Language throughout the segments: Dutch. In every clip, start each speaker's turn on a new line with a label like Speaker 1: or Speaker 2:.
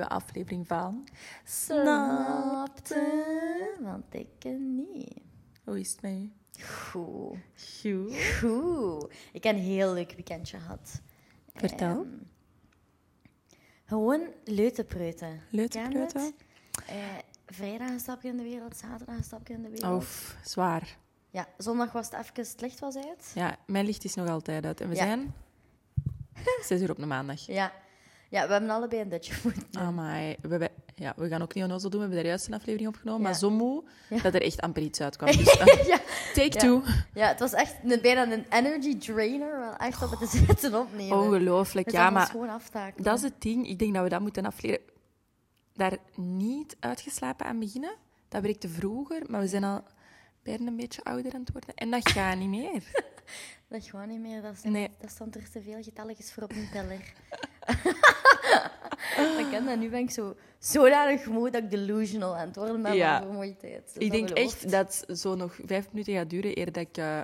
Speaker 1: Ah. aflevering van Snapte.
Speaker 2: Want ik ken niet.
Speaker 1: Hoe is het met u?
Speaker 2: Goed.
Speaker 1: Goed.
Speaker 2: Goed. Ik heb een heel leuk weekendje gehad.
Speaker 1: Vertel.
Speaker 2: Ehm, gewoon leutepreuten.
Speaker 1: Leutepreuten?
Speaker 2: Ken je het? Eh, vrijdag een stapje in de wereld, zaterdag een stapje in de wereld.
Speaker 1: Of zwaar.
Speaker 2: Ja, zondag was het even, het licht was uit.
Speaker 1: Ja, mijn licht is nog altijd uit. En we
Speaker 2: Ja.
Speaker 1: zijn zes uur op een maandag.
Speaker 2: Ja. ja, we hebben allebei een dutje moeten doen.
Speaker 1: Amai. We, hebben- ja, we gaan ook niet onnozel doen. We hebben daar juist een aflevering opgenomen.
Speaker 2: Ja.
Speaker 1: Maar zo moe
Speaker 2: Ja.
Speaker 1: dat er echt amper iets uitkwam. Dus, eh,
Speaker 2: Ja.
Speaker 1: take
Speaker 2: Ja.
Speaker 1: two.
Speaker 2: ja, het was echt een, bijna een energy drainer. Wel echt op het zitten opnemen.
Speaker 1: Ongelooflijk.
Speaker 2: Dus
Speaker 1: Oh. Ja,
Speaker 2: dat was
Speaker 1: maar
Speaker 2: gewoon aftaken.
Speaker 1: Dat is het ding. Ik denk dat we dat moeten afleren. Daar niet uitgeslapen aan beginnen. Dat werkte vroeger, maar we zijn al bijna een beetje ouder aan het worden. En dat gaat niet meer.
Speaker 2: Dat gewoon niet meer. Dat, is
Speaker 1: Nee.
Speaker 2: dat stond er te veel getalletjes voor op mijn teller. dat kan dat. Nu ben ik zo zodanig moe dat ik delusional aan het worden ben
Speaker 1: Ja.
Speaker 2: van vermoeidheid. Dus
Speaker 1: Ik
Speaker 2: dat
Speaker 1: denk
Speaker 2: belooft.
Speaker 1: echt dat het zo nog vijf minuten gaat duren eer dat ik eh,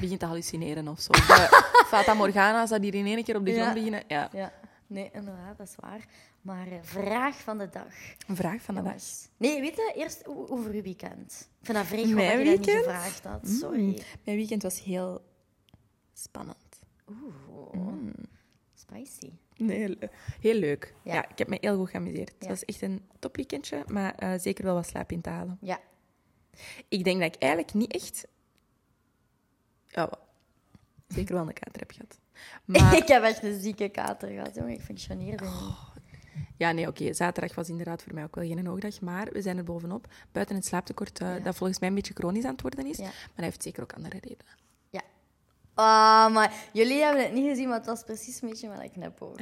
Speaker 1: begin te hallucineren of zo. De Fata Morgana's dat hier in één keer op de
Speaker 2: Ja.
Speaker 1: grond beginnen. Ja.
Speaker 2: Ja, nee, inderdaad, dat is waar. Maar eh, vraag van de dag.
Speaker 1: Een vraag van de dag.
Speaker 2: jongens. Nee, weet je, eerst o- over uw weekend. Ik vind dat vreemd dat
Speaker 1: Mijn
Speaker 2: je dat niet
Speaker 1: weekend?
Speaker 2: gevraagd had.
Speaker 1: Oh,
Speaker 2: Sorry.
Speaker 1: Mm. Mijn weekend was heel spannend.
Speaker 2: Oeh,
Speaker 1: Mm.
Speaker 2: spicy.
Speaker 1: Nee, heel le- heel leuk. Ja.
Speaker 2: Ja.
Speaker 1: ik heb me heel goed geamuseerd. Het
Speaker 2: Ja.
Speaker 1: was echt een topweekendje, maar eh, zeker wel wat slaap in te halen.
Speaker 2: Ja,
Speaker 1: Ik denk dat ik eigenlijk niet echt. Ja, wel. zeker wel een kater heb gehad. Maar
Speaker 2: ik heb echt een zieke kater gehad, jongen. Ik functioneerde niet.
Speaker 1: Oh. ja, nee, oké. zaterdag was inderdaad voor mij ook wel geen hoogdag. Maar we zijn er bovenop. Buiten het slaaptekort, eh, dat volgens mij een beetje chronisch aan het worden is.
Speaker 2: Ja.
Speaker 1: Maar hij heeft zeker ook andere redenen.
Speaker 2: Ja. Ah, maar jullie hebben het niet gezien, maar het was precies een beetje met een knipoog.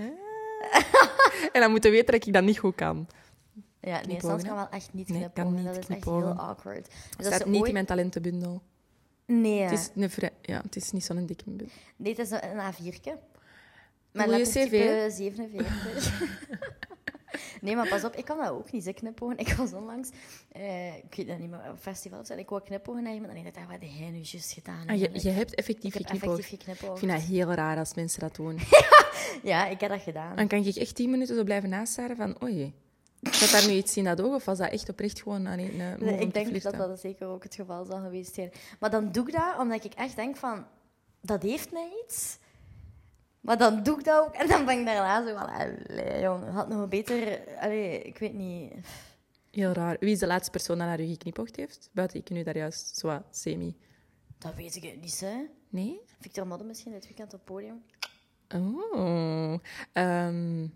Speaker 1: En dan moeten we weten dat ik dat niet goed kan.
Speaker 2: Ja, nee,
Speaker 1: knipoog,
Speaker 2: soms
Speaker 1: hè?
Speaker 2: kan wel echt niet
Speaker 1: Nee,
Speaker 2: knipogen.
Speaker 1: kan niet
Speaker 2: dat is echt
Speaker 1: knipogen.
Speaker 2: heel awkward. Dus
Speaker 1: Dat
Speaker 2: als
Speaker 1: staat
Speaker 2: ze
Speaker 1: niet
Speaker 2: ooit-
Speaker 1: in mijn talentenbundel.
Speaker 2: Nee,
Speaker 1: Het, is een vrij- ja, het is niet zo'n dikke bundel. Ah,
Speaker 2: nee, het is een een A4'tje.
Speaker 1: Goeie
Speaker 2: Met lettertype
Speaker 1: CV.
Speaker 2: 47. nee, maar pas op, ik kan dat ook niet, ze knipogen. Ik was onlangs, eh, ik weet dat niet meer, op festivals en ik wou knipogen naar iemand en ik dacht, wat heb jij nu juist gedaan?
Speaker 1: Ah, je,
Speaker 2: eigenlijk?
Speaker 1: je hebt
Speaker 2: ik
Speaker 1: effectief
Speaker 2: heb
Speaker 1: geknipoogd.
Speaker 2: effectief geknipoogd.
Speaker 1: Ik vind dat heel raar als mensen dat doen.
Speaker 2: Ja, ik heb dat gedaan.
Speaker 1: Dan kan ik echt tien minuten zo blijven nastaren van... Oei, zat daar nu iets in dat oog? Of was dat echt oprecht gewoon aan een eh, move
Speaker 2: Nee,
Speaker 1: om
Speaker 2: ik
Speaker 1: te
Speaker 2: denk dat
Speaker 1: flirten?
Speaker 2: dat zeker ook het geval zal geweest zijn. Maar dan doe ik dat omdat ik echt denk van, dat heeft mij iets. Maar dan doe ik dat ook en dan ben ik daarna zo van, allee, jong, had nog beter, allee, ik weet niet.
Speaker 1: Heel raar. Wie is de laatste persoon die naar u geknipoogd heeft? Buiten ik nu daar juist zo wat semi.
Speaker 2: Dat weet ik het niet, hè.
Speaker 1: Nee?
Speaker 2: Victor Modde misschien dit weekend op het podium.
Speaker 1: Oh. Ehm,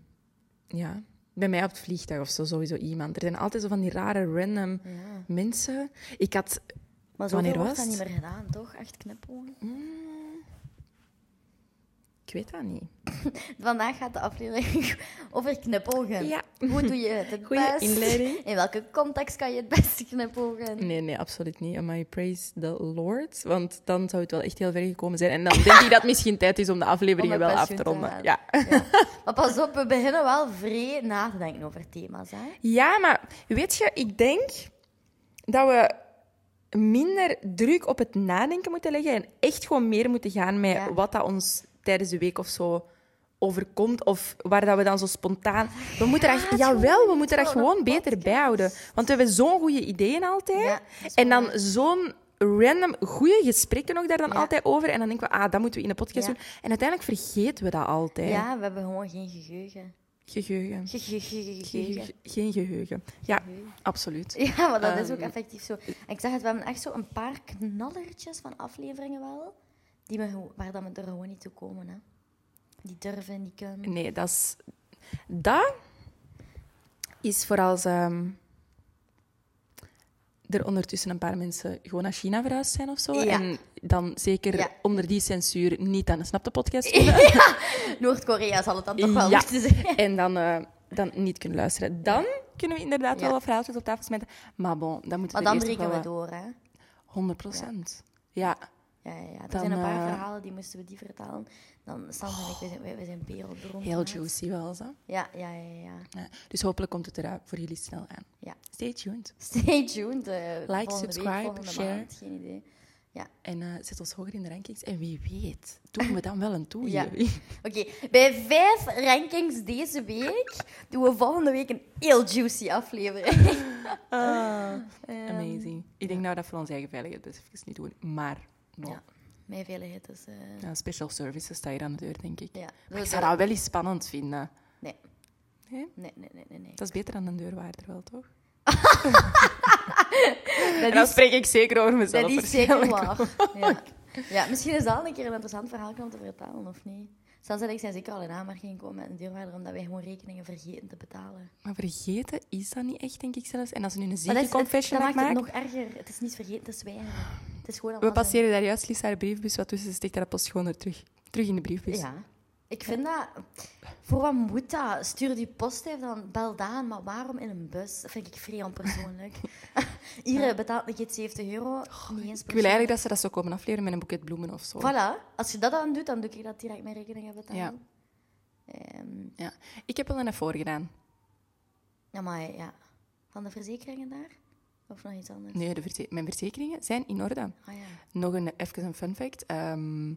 Speaker 1: ja. Bij mij op het vliegtuig of zo, sowieso iemand. Er zijn altijd zo van die rare random
Speaker 2: Ja.
Speaker 1: mensen. Ik had...
Speaker 2: Maar zo
Speaker 1: Wanneer
Speaker 2: wordt
Speaker 1: was
Speaker 2: dat niet
Speaker 1: het?
Speaker 2: meer gedaan, toch? Echt knipogen.
Speaker 1: Ik weet dat niet.
Speaker 2: Vandaag gaat de aflevering over knipogen.
Speaker 1: Ja.
Speaker 2: Hoe doe je het het
Speaker 1: Goeie
Speaker 2: best?
Speaker 1: inleiding.
Speaker 2: In welke context kan je het beste knipogen?
Speaker 1: Nee, nee, absoluut niet. My praise the Lord. Want dan zou het wel echt heel ver gekomen zijn. En dan denk ik dat het misschien tijd is om de afleveringen
Speaker 2: Om met
Speaker 1: wel af te
Speaker 2: pensioen te
Speaker 1: ronden.
Speaker 2: gaan.
Speaker 1: Ja.
Speaker 2: Maar pas op, we beginnen wel vrij na te denken over thema's. Hè?
Speaker 1: Ja, maar weet je, ik denk dat we minder druk op het nadenken moeten leggen en echt gewoon meer moeten gaan met
Speaker 2: Ja.
Speaker 1: wat dat ons tijdens de week of zo overkomt of waar dat we dan zo spontaan... We moeten dat,
Speaker 2: gaat
Speaker 1: jawel,
Speaker 2: gewoon
Speaker 1: we moeten dat
Speaker 2: niet, hoor,
Speaker 1: gewoon
Speaker 2: een
Speaker 1: beter
Speaker 2: podcast.
Speaker 1: bijhouden. Want we hebben zo'n goede ideeën altijd.
Speaker 2: Ja, dat is
Speaker 1: en dan zo'n random goede gesprekken ook daar dan
Speaker 2: Ja.
Speaker 1: altijd over. En dan denken we, ah, dat moeten we in de podcast
Speaker 2: Ja.
Speaker 1: doen. En uiteindelijk vergeten we dat altijd.
Speaker 2: Ja, we hebben gewoon geen geheugen.
Speaker 1: Geheugen.
Speaker 2: Ge- ge- ge- ge-
Speaker 1: Geheugen.
Speaker 2: Geheugen.
Speaker 1: Geen geheugen. Ja, absoluut.
Speaker 2: Ja, maar dat is ook
Speaker 1: Ehm.
Speaker 2: effectief zo. En ik zeg het, we hebben echt zo een paar knallertjes van afleveringen wel, die we, gewoon- waar dat we er gewoon niet toe komen. Hè. Die durven, die kunnen.
Speaker 1: Nee, dat is... Dat is voor als ehm, er ondertussen een paar mensen gewoon naar China verhuisd zijn of zo.
Speaker 2: Ja.
Speaker 1: En dan zeker
Speaker 2: Ja.
Speaker 1: onder die censuur niet aan de Snap de podcast kunnen.
Speaker 2: Noord-Korea zal het dan toch wel
Speaker 1: Ja.
Speaker 2: moeten zijn.
Speaker 1: En dan, eh, dan niet kunnen luisteren. Dan kunnen we inderdaad
Speaker 2: Ja.
Speaker 1: wel wat verhaaltjes op tafel smijten. Maar bon, dan moeten
Speaker 2: Maar dan
Speaker 1: we eerst nog
Speaker 2: breken
Speaker 1: wel
Speaker 2: we
Speaker 1: wat-
Speaker 2: door, hè.
Speaker 1: 100 procent. Ja.
Speaker 2: Ja, ja, ja. Er
Speaker 1: Dan,
Speaker 2: zijn een paar
Speaker 1: eh,
Speaker 2: verhalen, die moesten we die vertalen. Dan Sam en ik, we zijn, we zijn wereldberoemd.
Speaker 1: heel
Speaker 2: gemaakt.
Speaker 1: juicy wel. Zo.
Speaker 2: Ja, ja, ja, ja.
Speaker 1: Ja. Dus hopelijk komt het er voor jullie snel aan.
Speaker 2: ja.
Speaker 1: Stay tuned.
Speaker 2: Stay tuned. eh,
Speaker 1: Like,
Speaker 2: volgende week,
Speaker 1: subscribe,
Speaker 2: volgende
Speaker 1: share.
Speaker 2: Maand, geen idee. Ja.
Speaker 1: En eh, zet ons hoger in de rankings. En wie weet, doen we dan wel een toeje.
Speaker 2: Ja. Oké, bij vijf rankings deze week doen we volgende week een heel juicy aflevering. Ehm,
Speaker 1: Amazing. Ik denk nou dat voor onze eigen veiligheid best even niet doen. Maar, no.
Speaker 2: Ja. Mijn veiligheid is... eh,
Speaker 1: Ja, special services sta hier aan de deur, denk ik.
Speaker 2: ja.
Speaker 1: Maar ik zou dat wel eens spannend vinden.
Speaker 2: Nee.
Speaker 1: Nee?
Speaker 2: Nee, nee, nee, nee. nee.
Speaker 1: Dat is beter dan een deurwaarder wel, toch?
Speaker 2: Dat
Speaker 1: en dan
Speaker 2: is,
Speaker 1: spreek ik zeker over mezelf.
Speaker 2: dat is zeker
Speaker 1: waarschijnlijk. Oh
Speaker 2: waar. Ja. ja, misschien is dat een keer een interessant verhaal om te vertalen, of niet? Sans en ik zijn zeker al in aanmerking gekomen met een deurwaarder, omdat wij gewoon rekeningen vergeten te betalen.
Speaker 1: Maar vergeten is dat niet echt, denk ik zelfs. En als ze nu een
Speaker 2: Maar dat is- het-
Speaker 1: zieke confession
Speaker 2: dat
Speaker 1: maakt,
Speaker 2: maakt het nog erger. Het is niet vergeten, het is weigeren. Het is gewoon
Speaker 1: we
Speaker 2: allemaal zo.
Speaker 1: passeren daar juist Lisa haar briefbus wat tussen. Ze steekt haar post gewoon er terug. Terug in de briefbus.
Speaker 2: Ja. Ik vind dat... Voor wat moet dat? Stuur die post even, dan bel dat aan. Maar waarom in een bus? Dat vind ik vrij onpersoonlijk. Hier eh, betaalt een kind 70 euro. niet eens
Speaker 1: Ik wil eigenlijk dat ze dat zo komen afleren met een boeket bloemen of zo.
Speaker 2: Voilà. Als je dat dan doet, dan doe ik dat direct mijn rekeningen betalen. Ja.
Speaker 1: Ja. Ik heb wel een voor gedaan.
Speaker 2: ja, maar ja. Van de verzekeringen daar? Of nog iets anders?
Speaker 1: Nee, de verze- mijn verzekeringen zijn in orde.
Speaker 2: Ah ja.
Speaker 1: Nog een, even een fun fact. Ehm,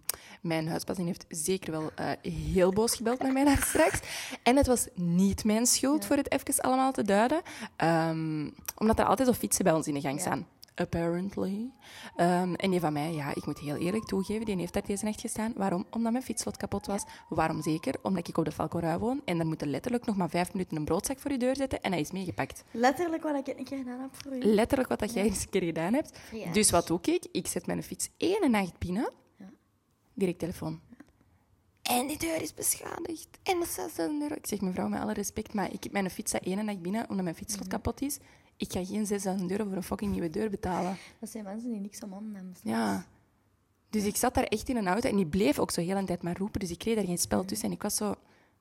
Speaker 1: mijn huisbasin heeft zeker wel eh, heel boos gebeld naar mij daar straks. En het was niet mijn schuld, voor het even allemaal te duiden. Ehm, omdat er altijd zo fietsen bij ons in de gang
Speaker 2: Ja.
Speaker 1: staan. Apparently. Ehm, en die van mij, ja, ik moet heel eerlijk toegeven, die heeft daar deze nacht gestaan. Waarom? Omdat mijn fietslot kapot was. Waarom zeker? Omdat ik op de Valkorui woon en daar moeten letterlijk nog maar vijf minuten een broodzak voor je deur zetten en hij is meegepakt.
Speaker 2: Letterlijk wat ik een keer gedaan heb voor u.
Speaker 1: Letterlijk wat dat jij eens een keer gedaan hebt.
Speaker 2: Ja.
Speaker 1: Dus wat doe ik? Ik zet mijn fiets één nacht binnen.
Speaker 2: Ja.
Speaker 1: Direct telefoon. En die deur is beschadigd. En dat is 6000 euro. Ik zeg, mevrouw, met alle respect, maar ik heb mijn fiets dat één nacht binnen, omdat mijn
Speaker 2: Mhm.
Speaker 1: fietslot kapot is. Ik ga geen 6000 euro voor een fucking nieuwe deur betalen.
Speaker 2: Dat zijn mensen die niks om handen hebben. snap je?
Speaker 1: Ja. Dus ik zat daar echt in een auto en die bleef ook zo heel een tijd maar roepen. Dus ik kreeg daar geen spel tussen. En ik was zo,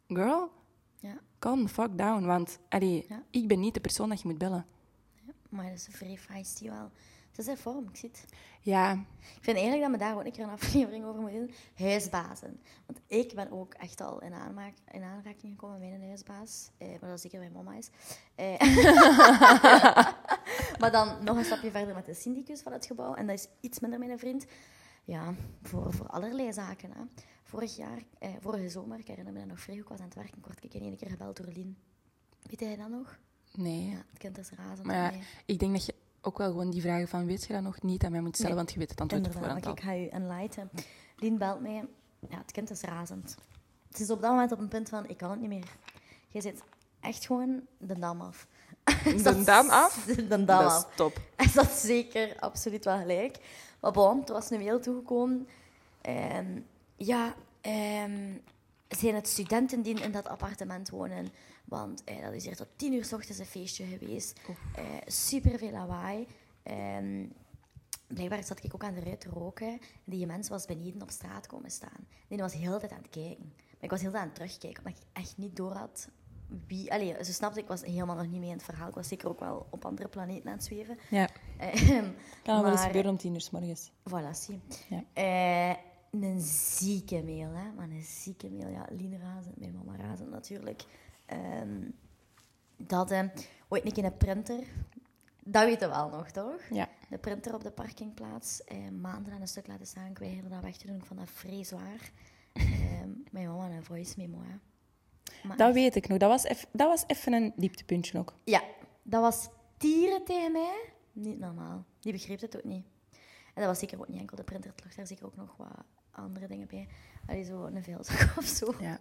Speaker 1: girl,
Speaker 2: Ja.
Speaker 1: calm the fuck down. Want, allee,
Speaker 2: Ja.
Speaker 1: ik ben niet de persoon dat je moet bellen.
Speaker 2: Maar dat is een vrij feisty wel. Ze zijn vorm, ik zie het.
Speaker 1: Ja,
Speaker 2: Ik vind eigenlijk dat we daar ook een keer een aflevering over moeten doen. Huisbazen. Want ik ben ook echt al in, aanmaak, in aanraking gekomen met mijn huisbaas. Eh, maar dat zeker mijn mama is. Eh, maar dan nog een stapje verder met de syndicus van het gebouw. En dat is iets minder mijn vriend. Ja, voor, voor allerlei zaken. Hè. Vorig jaar, eh, vorige zomer, ik herinner me dat nog vrij goed, ik was aan het werken. Ik word ik in één keer gebeld door Lien. Weet jij dat nog?
Speaker 1: nee.
Speaker 2: Ja, het kind is razend.
Speaker 1: Maar ja,
Speaker 2: Nee.
Speaker 1: ik denk dat je ook wel gewoon die vragen van weet je dat nog niet aan mij moet stellen,
Speaker 2: Nee.
Speaker 1: want je weet het antwoord op
Speaker 2: Inderdaad,
Speaker 1: voorhand
Speaker 2: maar
Speaker 1: al.
Speaker 2: ik ga u enlighten. Lien belt mij. Ja, het kind is razend. Het is op dat moment op een punt van, ik kan het niet meer. Je zit echt gewoon de dam af. Is dat-
Speaker 1: De dam af?
Speaker 2: De dam
Speaker 1: Dat
Speaker 2: af.
Speaker 1: is top.
Speaker 2: Hij zat zeker absoluut wel gelijk. Maar bon, toen was een mail toegekomen. Ehm, ja, ehm, zijn het studenten die in dat appartement wonen? Want eh, dat is hier tot tien uur s ochtends een feestje geweest. Eh super veel lawaai. Ehm, blijkbaar zat ik ook aan de ruit te roken. En die mens was beneden op straat komen staan. Die was heel de tijd aan het kijken. Maar ik was heel de tijd aan het terugkijken, omdat ik echt niet door had wie... Allee, ze snapte, ik was helemaal nog niet mee in het verhaal. Ik was zeker ook wel op andere planeten aan het zweven.
Speaker 1: Ja,
Speaker 2: Ehm,
Speaker 1: kan wel eens
Speaker 2: maar,
Speaker 1: gebeuren om tien uur 's morgens.
Speaker 2: Voilà, zie.
Speaker 1: Ja.
Speaker 2: Eh, een zieke mail, hè. Maar een zieke mail. Ja, Lien razend, mijn mama razend natuurlijk. Ehm, dat, eh, ooit een keer een printer. Dat weten we wel nog, toch?
Speaker 1: Ja.
Speaker 2: De printer op de parkingplaats. eh, maanden aan een stuk laten staan. Ik weigerde dat weg te doen. Ik vond dat vrij zwaar. Ehm, mijn mama een voice memo, hè. Maar
Speaker 1: Dat weet ik nog. Dat was, eff- dat was even een dieptepuntje ook.
Speaker 2: ja, dat was tieren tegen mij. Niet normaal. Die begreep het ook niet. En dat was zeker ook niet enkel de printer. Het lag daar zeker ook nog wat andere dingen bij. Allee, zo een vuilzak of zo.
Speaker 1: Ja.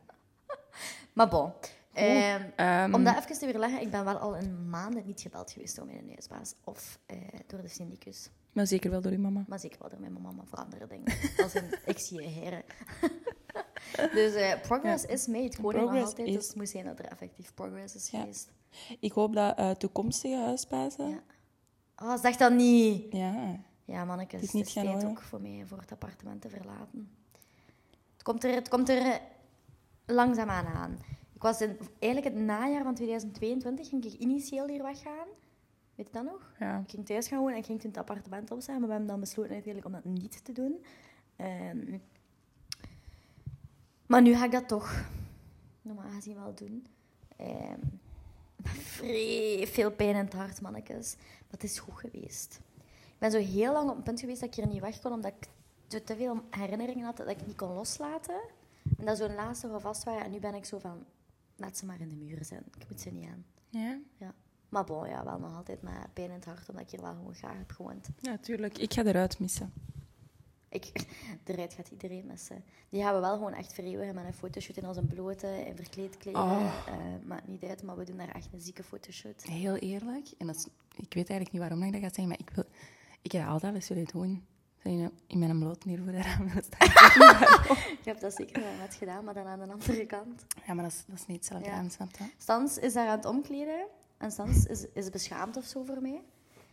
Speaker 2: Maar bon. Ehm,
Speaker 1: Ehm,
Speaker 2: om dat even te weerleggen, ik ben wel al een maanden niet gebeld geweest door mijn huisbaas. Of eh, door de syndicus.
Speaker 1: Maar zeker wel door uw mama.
Speaker 2: Maar zeker wel door mijn mama, maar voor andere dingen. Als in, ik zie je heren. dus eh, progress is made. Gewoon nog
Speaker 1: Progress
Speaker 2: altijd.
Speaker 1: is-
Speaker 2: Dus het moet zijn dat er effectief progress is
Speaker 1: Ja.
Speaker 2: geweest.
Speaker 1: Ik hoop dat eh, toekomstige huisbazen... Ja.
Speaker 2: Ja. Oh, zeg dat niet. Ja, mannekes,
Speaker 1: Het
Speaker 2: het
Speaker 1: is
Speaker 2: is,
Speaker 1: niet gaan
Speaker 2: tijd
Speaker 1: horen.
Speaker 2: ook voor mij voor het appartement te verlaten. Het komt er, het komt er eh, langzaamaan aan. Ik was in, eigenlijk het najaar van 2022 ging ik initieel hier weggaan. Weet je dat nog?
Speaker 1: Ja.
Speaker 2: Ik ging thuis gaan wonen en ik ging toen het appartement opzeggen, maar we hebben dan besloten uiteindelijk om dat niet te doen. Ehm, maar nu ga ik dat toch normaal gezien wel doen. Ehm, vrij veel pijn in het hart, mannetjes. Maar het is goed geweest. Ik ben zo heel lang op een punt geweest dat ik hier niet weg kon, omdat ik te, te veel herinneringen had dat ik niet kon loslaten. En dat zo'n laatste wel vast waren. En nu ben ik zo van, laat ze maar in de muren zijn. Ik moet ze niet aan.
Speaker 1: Ja.
Speaker 2: Ja. Maar bon, ja, wel nog altijd maar pijn in het hart, omdat ik hier wel gewoon graag heb gewoond.
Speaker 1: Ja, tuurlijk. Ik ga eruit missen.
Speaker 2: Ik, eruit gaat iedereen missen. Die gaan we wel gewoon echt vereeuwigen met een fotoshoot in onze blote en verkleed kleren.
Speaker 1: Oh.
Speaker 2: Eh, maakt niet uit, maar we doen daar echt een zieke fotoshoot.
Speaker 1: Heel eerlijk, en dat is- ik weet eigenlijk niet waarom ik dat ga zeggen, maar ik wil... Ik heb dat altijd eens willen doen. Zo in- In mijn bloot hier voor de raam willen staan.
Speaker 2: Ik heb dat zeker wel net gedaan, maar dan aan de andere kant.
Speaker 1: Ja, maar dat is, dat is niet hetzelfde
Speaker 2: Ja.
Speaker 1: aan, snap je?
Speaker 2: Stans is daar aan het omkleden. En Stans is, is beschaamd of zo voor mij.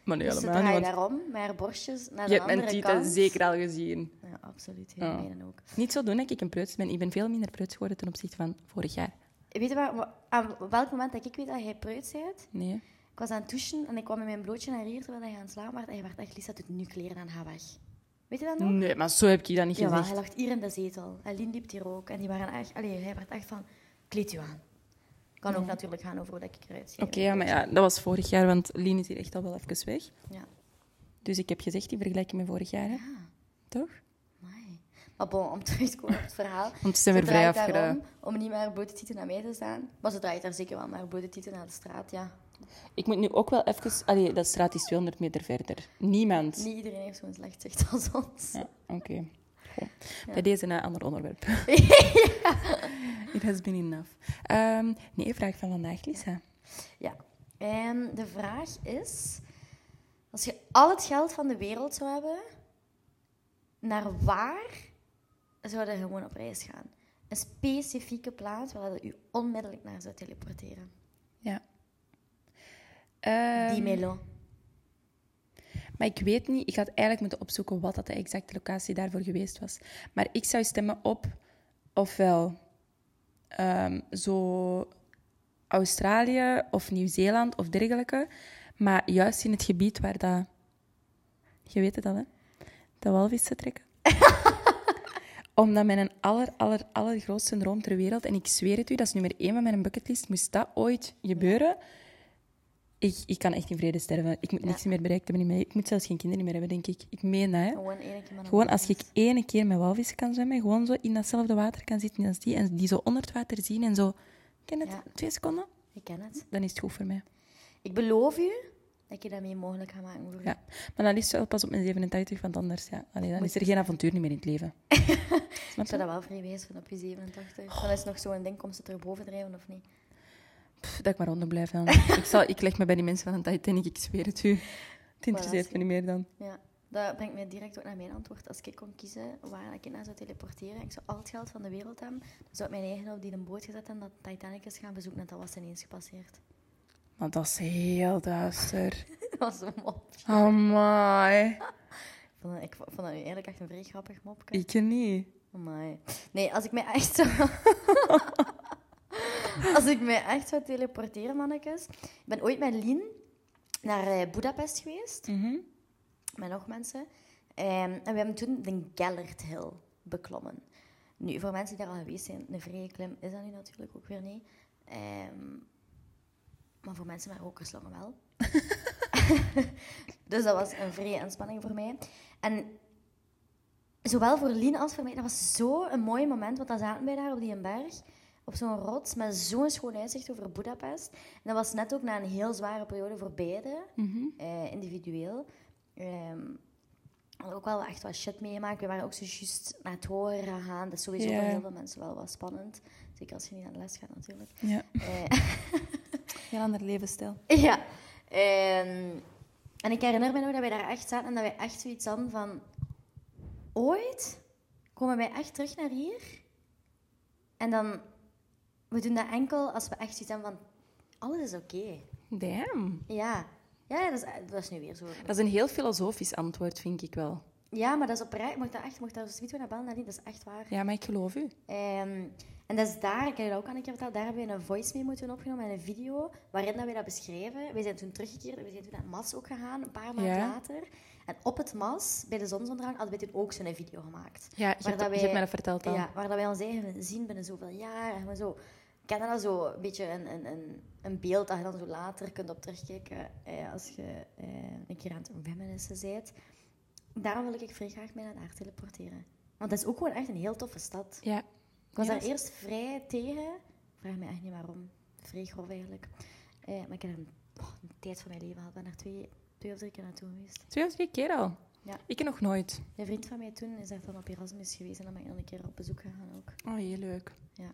Speaker 1: Maar nu
Speaker 2: Dus ze draait daarom, met haar borstjes naar de andere kant.
Speaker 1: al gezien.
Speaker 2: Ja, absoluut. Heel
Speaker 1: Ja.
Speaker 2: mijnen ook.
Speaker 1: Niet zo doen dat ik een preuts ben. Ik ben veel minder preuts geworden ten opzichte van vorig jaar.
Speaker 2: Weet je waar, wa- aan welk moment dat ik weet dat jij preuts bent?
Speaker 1: Nee.
Speaker 2: Ik was aan het douchen en ik kwam met mijn blootje naar hier terwijl hij aan het slapen was. En hij werd echt, Lisa doet nu kleren aan haar weg. Weet je dat nog?
Speaker 1: Nee, maar zo heb ik dat niet
Speaker 2: Jawel, hij lag hier in de zetel. En Lien liep hier ook. En die waren echt, allee, hij werd echt van, kleed u aan. Kan ook natuurlijk gaan over hoe dat ik eruit zie.
Speaker 1: Oké, ja, maar ja, dat was vorig jaar, want Lien is hier echt al wel even weg.
Speaker 2: Ja.
Speaker 1: Dus ik heb gezegd, die vergelijking met vorig jaar, hè? Toch?
Speaker 2: Amai. Maar bon, om terug te komen op het verhaal.
Speaker 1: Want ze zijn weer
Speaker 2: Ze
Speaker 1: vrij
Speaker 2: draait daarom
Speaker 1: afgedaan.
Speaker 2: Om niet met haar blote tieten naar mij te staan. Maar ze draait daar zeker wel met haar blote tieten naar de straat, ja.
Speaker 1: Ik moet nu ook wel even... Allee, dat straat is 200 meter verder. Niemand.
Speaker 2: Niet iedereen heeft zo'n slecht zicht als ons.
Speaker 1: Ja, oké. Goh. Bij deze een ander onderwerp. It has been enough. Ehm, nee, vraag van vandaag, Lisa.
Speaker 2: Ja. En de vraag is: als je al het geld van de wereld zou hebben, naar waar zou je gewoon op reis gaan? Een specifieke plaats waar je u onmiddellijk naar zou teleporteren.
Speaker 1: Ja.
Speaker 2: Die
Speaker 1: Ehm,
Speaker 2: Melo.
Speaker 1: Maar ik weet niet, ik had eigenlijk moeten opzoeken wat dat de exacte locatie daarvoor geweest was. Maar ik zou stemmen op ofwel ehm, zo Australië of Nieuw-Zeeland of dergelijke. Maar juist in het gebied waar dat... Je weet het al, hè? De walvissen trekken. Omdat mijn aller, aller, allergrootste droom ter wereld... En ik zweer het u, dat is nummer één van mijn bucketlist. Moest dat ooit gebeuren... Ik, ik kan echt in vrede sterven. Ik moet niks meer bereikt hebben in mijn leven. Ik moet zelfs geen kinderen meer hebben, denk ik. Ik meen dat, hè.
Speaker 2: Gewoon één keer met een
Speaker 1: Gewoon als ik ene keer met walvissen kan zwemmen, gewoon zo in datzelfde water kan zitten als die, en die zo onder het water zien en zo... Ken het?
Speaker 2: Ja.
Speaker 1: Twee seconden?
Speaker 2: Ik ken het.
Speaker 1: Dan is het goed voor mij.
Speaker 2: Ik beloof u dat je dat mee mogelijk gaat maken voor u.
Speaker 1: Ja. Maar dan is het wel pas op mijn 87, want anders ja. Allee, dan is er geen avontuur niet meer in het leven.
Speaker 2: Ik zou dat wel vrij wijs vinden op je 87. Dan is het nog zo'n ding, komt ze het erboven drijven of niet?
Speaker 1: Pff, dat ik maar onder blijf dan. ik, zal, ik leg me bij die mensen van de Titanic, ik zweer het u. Het interesseert me niet meer dan.
Speaker 2: Ja, dat brengt mij direct ook naar mijn antwoord. Als ik kon kiezen waar ik naar zou teleporteren, ik zou al het geld van de wereld hebben, dan zou ik mijn eigen op die een boot gezet en dat Titanic is gaan bezoeken en dat was ineens gepasseerd.
Speaker 1: Want dat is heel duister.
Speaker 2: Dat was een mop.
Speaker 1: Amai.
Speaker 2: Ik vond dat, ik vond dat nu eigenlijk echt een vrij grappig mopje.
Speaker 1: Ik niet.
Speaker 2: Amai. Nee, als ik mij echt zou... als ik mij echt zou teleporteren, mannetjes... Ik ben ooit met Lien naar eh, Budapest geweest. Met nog mensen. Ehm, en we hebben toen de Gellert Hill beklommen. Nu, voor mensen die daar al geweest zijn, een vrije klim is dat nu natuurlijk ook weer niet. Ehm, maar voor mensen met rokerslongen wel. dus dat was een vrije inspanning voor mij. En zowel voor Lien als voor mij, dat was zo'n mooi moment. Want dan zaten wij daar op die berg, op zo'n rots, met zo'n schoon uitzicht over Budapest. En dat was net ook na een heel zware periode voor beiden, eh, individueel. Ehm, we hadden ook wel echt wat shit meegemaakt. We waren ook zo juist naar het horen gegaan. Dat is sowieso
Speaker 1: Ja.
Speaker 2: voor heel veel mensen wel wat spannend. Zeker als je niet naar de les gaat, natuurlijk.
Speaker 1: Ja.
Speaker 2: Eh,
Speaker 1: Heel ander levensstijl.
Speaker 2: ja. En, en ik herinner me nog dat wij daar echt zaten en dat wij echt zoiets hadden van... Ooit komen wij echt terug naar hier. En dan... We doen dat enkel als we echt zoiets hebben van... Alles is oké.
Speaker 1: Damn.
Speaker 2: Ja. Ja, dat is, dat is nu weer zo.
Speaker 1: Dat is een heel filosofisch antwoord, vind ik wel.
Speaker 2: Ja, maar dat is oprecht. Mocht daar echt, mocht daar zoiets naar bellen, dat niet. Dat is echt waar.
Speaker 1: Ja, maar ik geloof u.
Speaker 2: Ehm, en dat is daar, ik heb je dat ook al een keer verteld, daar hebben we een voice mee moeten opgenomen en een video waarin dat we dat beschreven. We zijn toen teruggekeerd en we zijn toen naar het MAS ook gegaan, een paar maanden
Speaker 1: Ja.
Speaker 2: later. En op het MAS, bij de zonsondergang, hadden we toen ook zo'n video gemaakt.
Speaker 1: Ja, je hebt,
Speaker 2: dat
Speaker 1: je
Speaker 2: wij-
Speaker 1: hebt mij dat verteld al.
Speaker 2: Ja, waar dat wij ons eigen zien binnen zoveel jaar en we zo Canada zo een beetje een, een, een, een beeld dat je dan zo later kunt op terugkijken eh, als je eh, een keer aan het reminiscen bent. Daarom wil ik vrij graag mij naar daar teleporteren. Want dat is ook gewoon echt een heel toffe stad.
Speaker 1: Ja.
Speaker 2: Ik was
Speaker 1: Ja,
Speaker 2: daar
Speaker 1: dat is-
Speaker 2: eerst vrij tegen. Ik vraag me echt niet waarom. Vrij grof eigenlijk. Eh, maar ik heb daar een, oh, een tijd van mijn leven gehad. Ik ben daar twee, twee of drie keer naartoe geweest.
Speaker 1: Twee of drie keer al.
Speaker 2: Ja.
Speaker 1: Ik nog nooit.
Speaker 2: Een vriend van mij toen is daar dan op Erasmus geweest. En dan ben ik dan een keer op bezoek gegaan ook.
Speaker 1: Oh, heel leuk.
Speaker 2: Ja.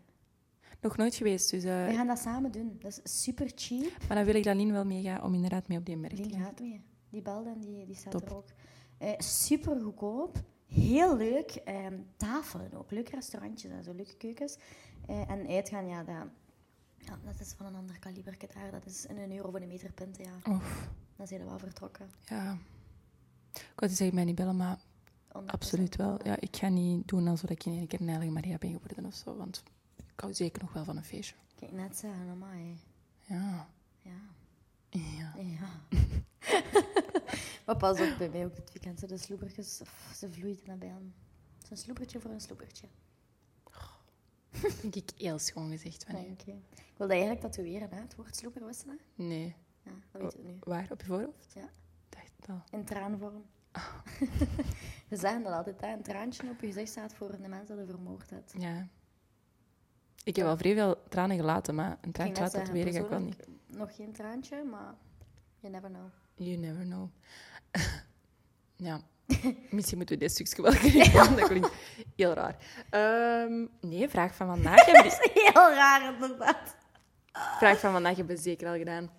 Speaker 1: Nog nooit geweest, dus... eh,
Speaker 2: We gaan dat samen doen. Dat is super cheap.
Speaker 1: Maar dan wil ik dat Lien wel meegaan om inderdaad mee op die merk te
Speaker 2: Die
Speaker 1: gaan.
Speaker 2: gaat mee. Die belde en die, die staat
Speaker 1: Top.
Speaker 2: er ook. super goedkoop. Heel leuk. eh, tafelen ook. Leuke restaurantjes en zo. Leuke keukens. Eh, en uitgaan, ja, dat, ja, dat is van een ander kaliber daar. Dat is in een euro voor de meterpunten, ja.
Speaker 1: Oef,
Speaker 2: Dan zijn we wel vertrokken.
Speaker 1: ja. Ik wou zeggen, mij niet bellen, maar
Speaker 2: 100%.
Speaker 1: absoluut wel. Ja, ik ga niet doen alsof ik in één keer een heilige Maria ben geworden of zo, want ik hou zeker nog wel van een feestje.
Speaker 2: Kijk, net zeggen, amai.
Speaker 1: Ja.
Speaker 2: Ja.
Speaker 1: Ja.
Speaker 2: Ja. maar pas op, bij mij ook dit weekend. zo De sloebertjes, pff, ze vloeiden naar bijen. Het is een sloebertje voor een sloebertje.
Speaker 1: Dat vind ik heel schoon gezegd van u.
Speaker 2: Dank je. Ik wilde eigenlijk tatoeëren, hè. Het woord sloeber, wist je dat?
Speaker 1: Nee.
Speaker 2: Ja, dat weten we nu.
Speaker 1: Waar? Op je voorhoofd?
Speaker 2: Ja.
Speaker 1: Dacht het al.
Speaker 2: In traanvorm.
Speaker 1: Ah.
Speaker 2: we zeggen dat altijd, hè. Een traantje op je gezicht staat voor de mens dat je vermoord hebt.
Speaker 1: Ja. Ik heb wel vrij veel tranen gelaten, maar een
Speaker 2: ging
Speaker 1: traantje
Speaker 2: net
Speaker 1: laten
Speaker 2: zeggen,
Speaker 1: weer ga ik wel niet.
Speaker 2: persoonlijk Nog geen traantje, maar you never know.
Speaker 1: You never know. ja, misschien moeten we dit stukje wel krijgen. Dat klinkt heel raar. Ehm, nee, vraag van vandaag. Hebben we,
Speaker 2: Heel raar, inderdaad.
Speaker 1: vraag van vandaag hebben we zeker al gedaan.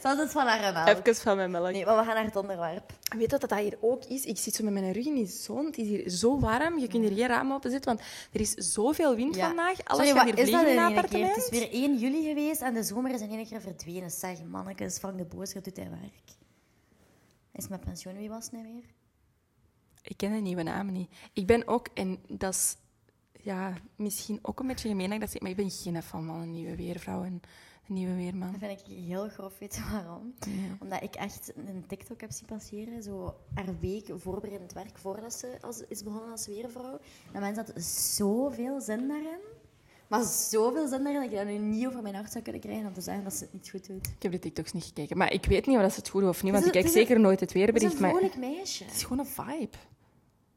Speaker 2: Zelfs het van haar melk.
Speaker 1: Even van mijn melk.
Speaker 2: Nee, maar we gaan naar het onderwerp.
Speaker 1: Weet dat dat dat hier ook is? Ik zit zo met mijn rug in die zon. Het is hier zo warm. Je kunt hier geen raam open zetten, want er is zoveel wind vandaag.
Speaker 2: Sorry,
Speaker 1: Alles gaat
Speaker 2: wat
Speaker 1: hier
Speaker 2: is dat
Speaker 1: vliegen in
Speaker 2: in één
Speaker 1: mijn
Speaker 2: keer?
Speaker 1: appartement.
Speaker 2: Het is weer 1 juli geweest en de zomer is in één keer verdwenen. Zeg, mannekes, vang de boos, je doet hij werk. Is mijn pensioen, wie was het nou weer?
Speaker 1: Ik ken de nieuwe namen niet. Ik ben ook, en dat is ja, misschien ook een beetje gemeen dat ik dat zeg, maar ik ben geen fan van een nieuwe weervrouw en een nieuwe weerman.
Speaker 2: Dat vind ik heel grof, weet je waarom? Omdat ik echt een TikTok heb zien passeren, zo haar week voorbereidend werk voordat ze als, is begonnen als weervrouw. En mensen hadden zoveel zin daarin. Maar zoveel zin daarin dat ik dat nu niet over mijn hart zou kunnen krijgen om te zeggen dat ze het niet goed doet.
Speaker 1: Ik heb de TikToks niet gekeken, maar ik weet niet of dat ze het goed doen of niet,
Speaker 2: Het
Speaker 1: want
Speaker 2: is
Speaker 1: ik
Speaker 2: een- het
Speaker 1: kijk
Speaker 2: is een-
Speaker 1: zeker nooit het
Speaker 2: Het is een
Speaker 1: weerbericht. Maar het
Speaker 2: vrolijk meisje.
Speaker 1: is gewoon een vibe.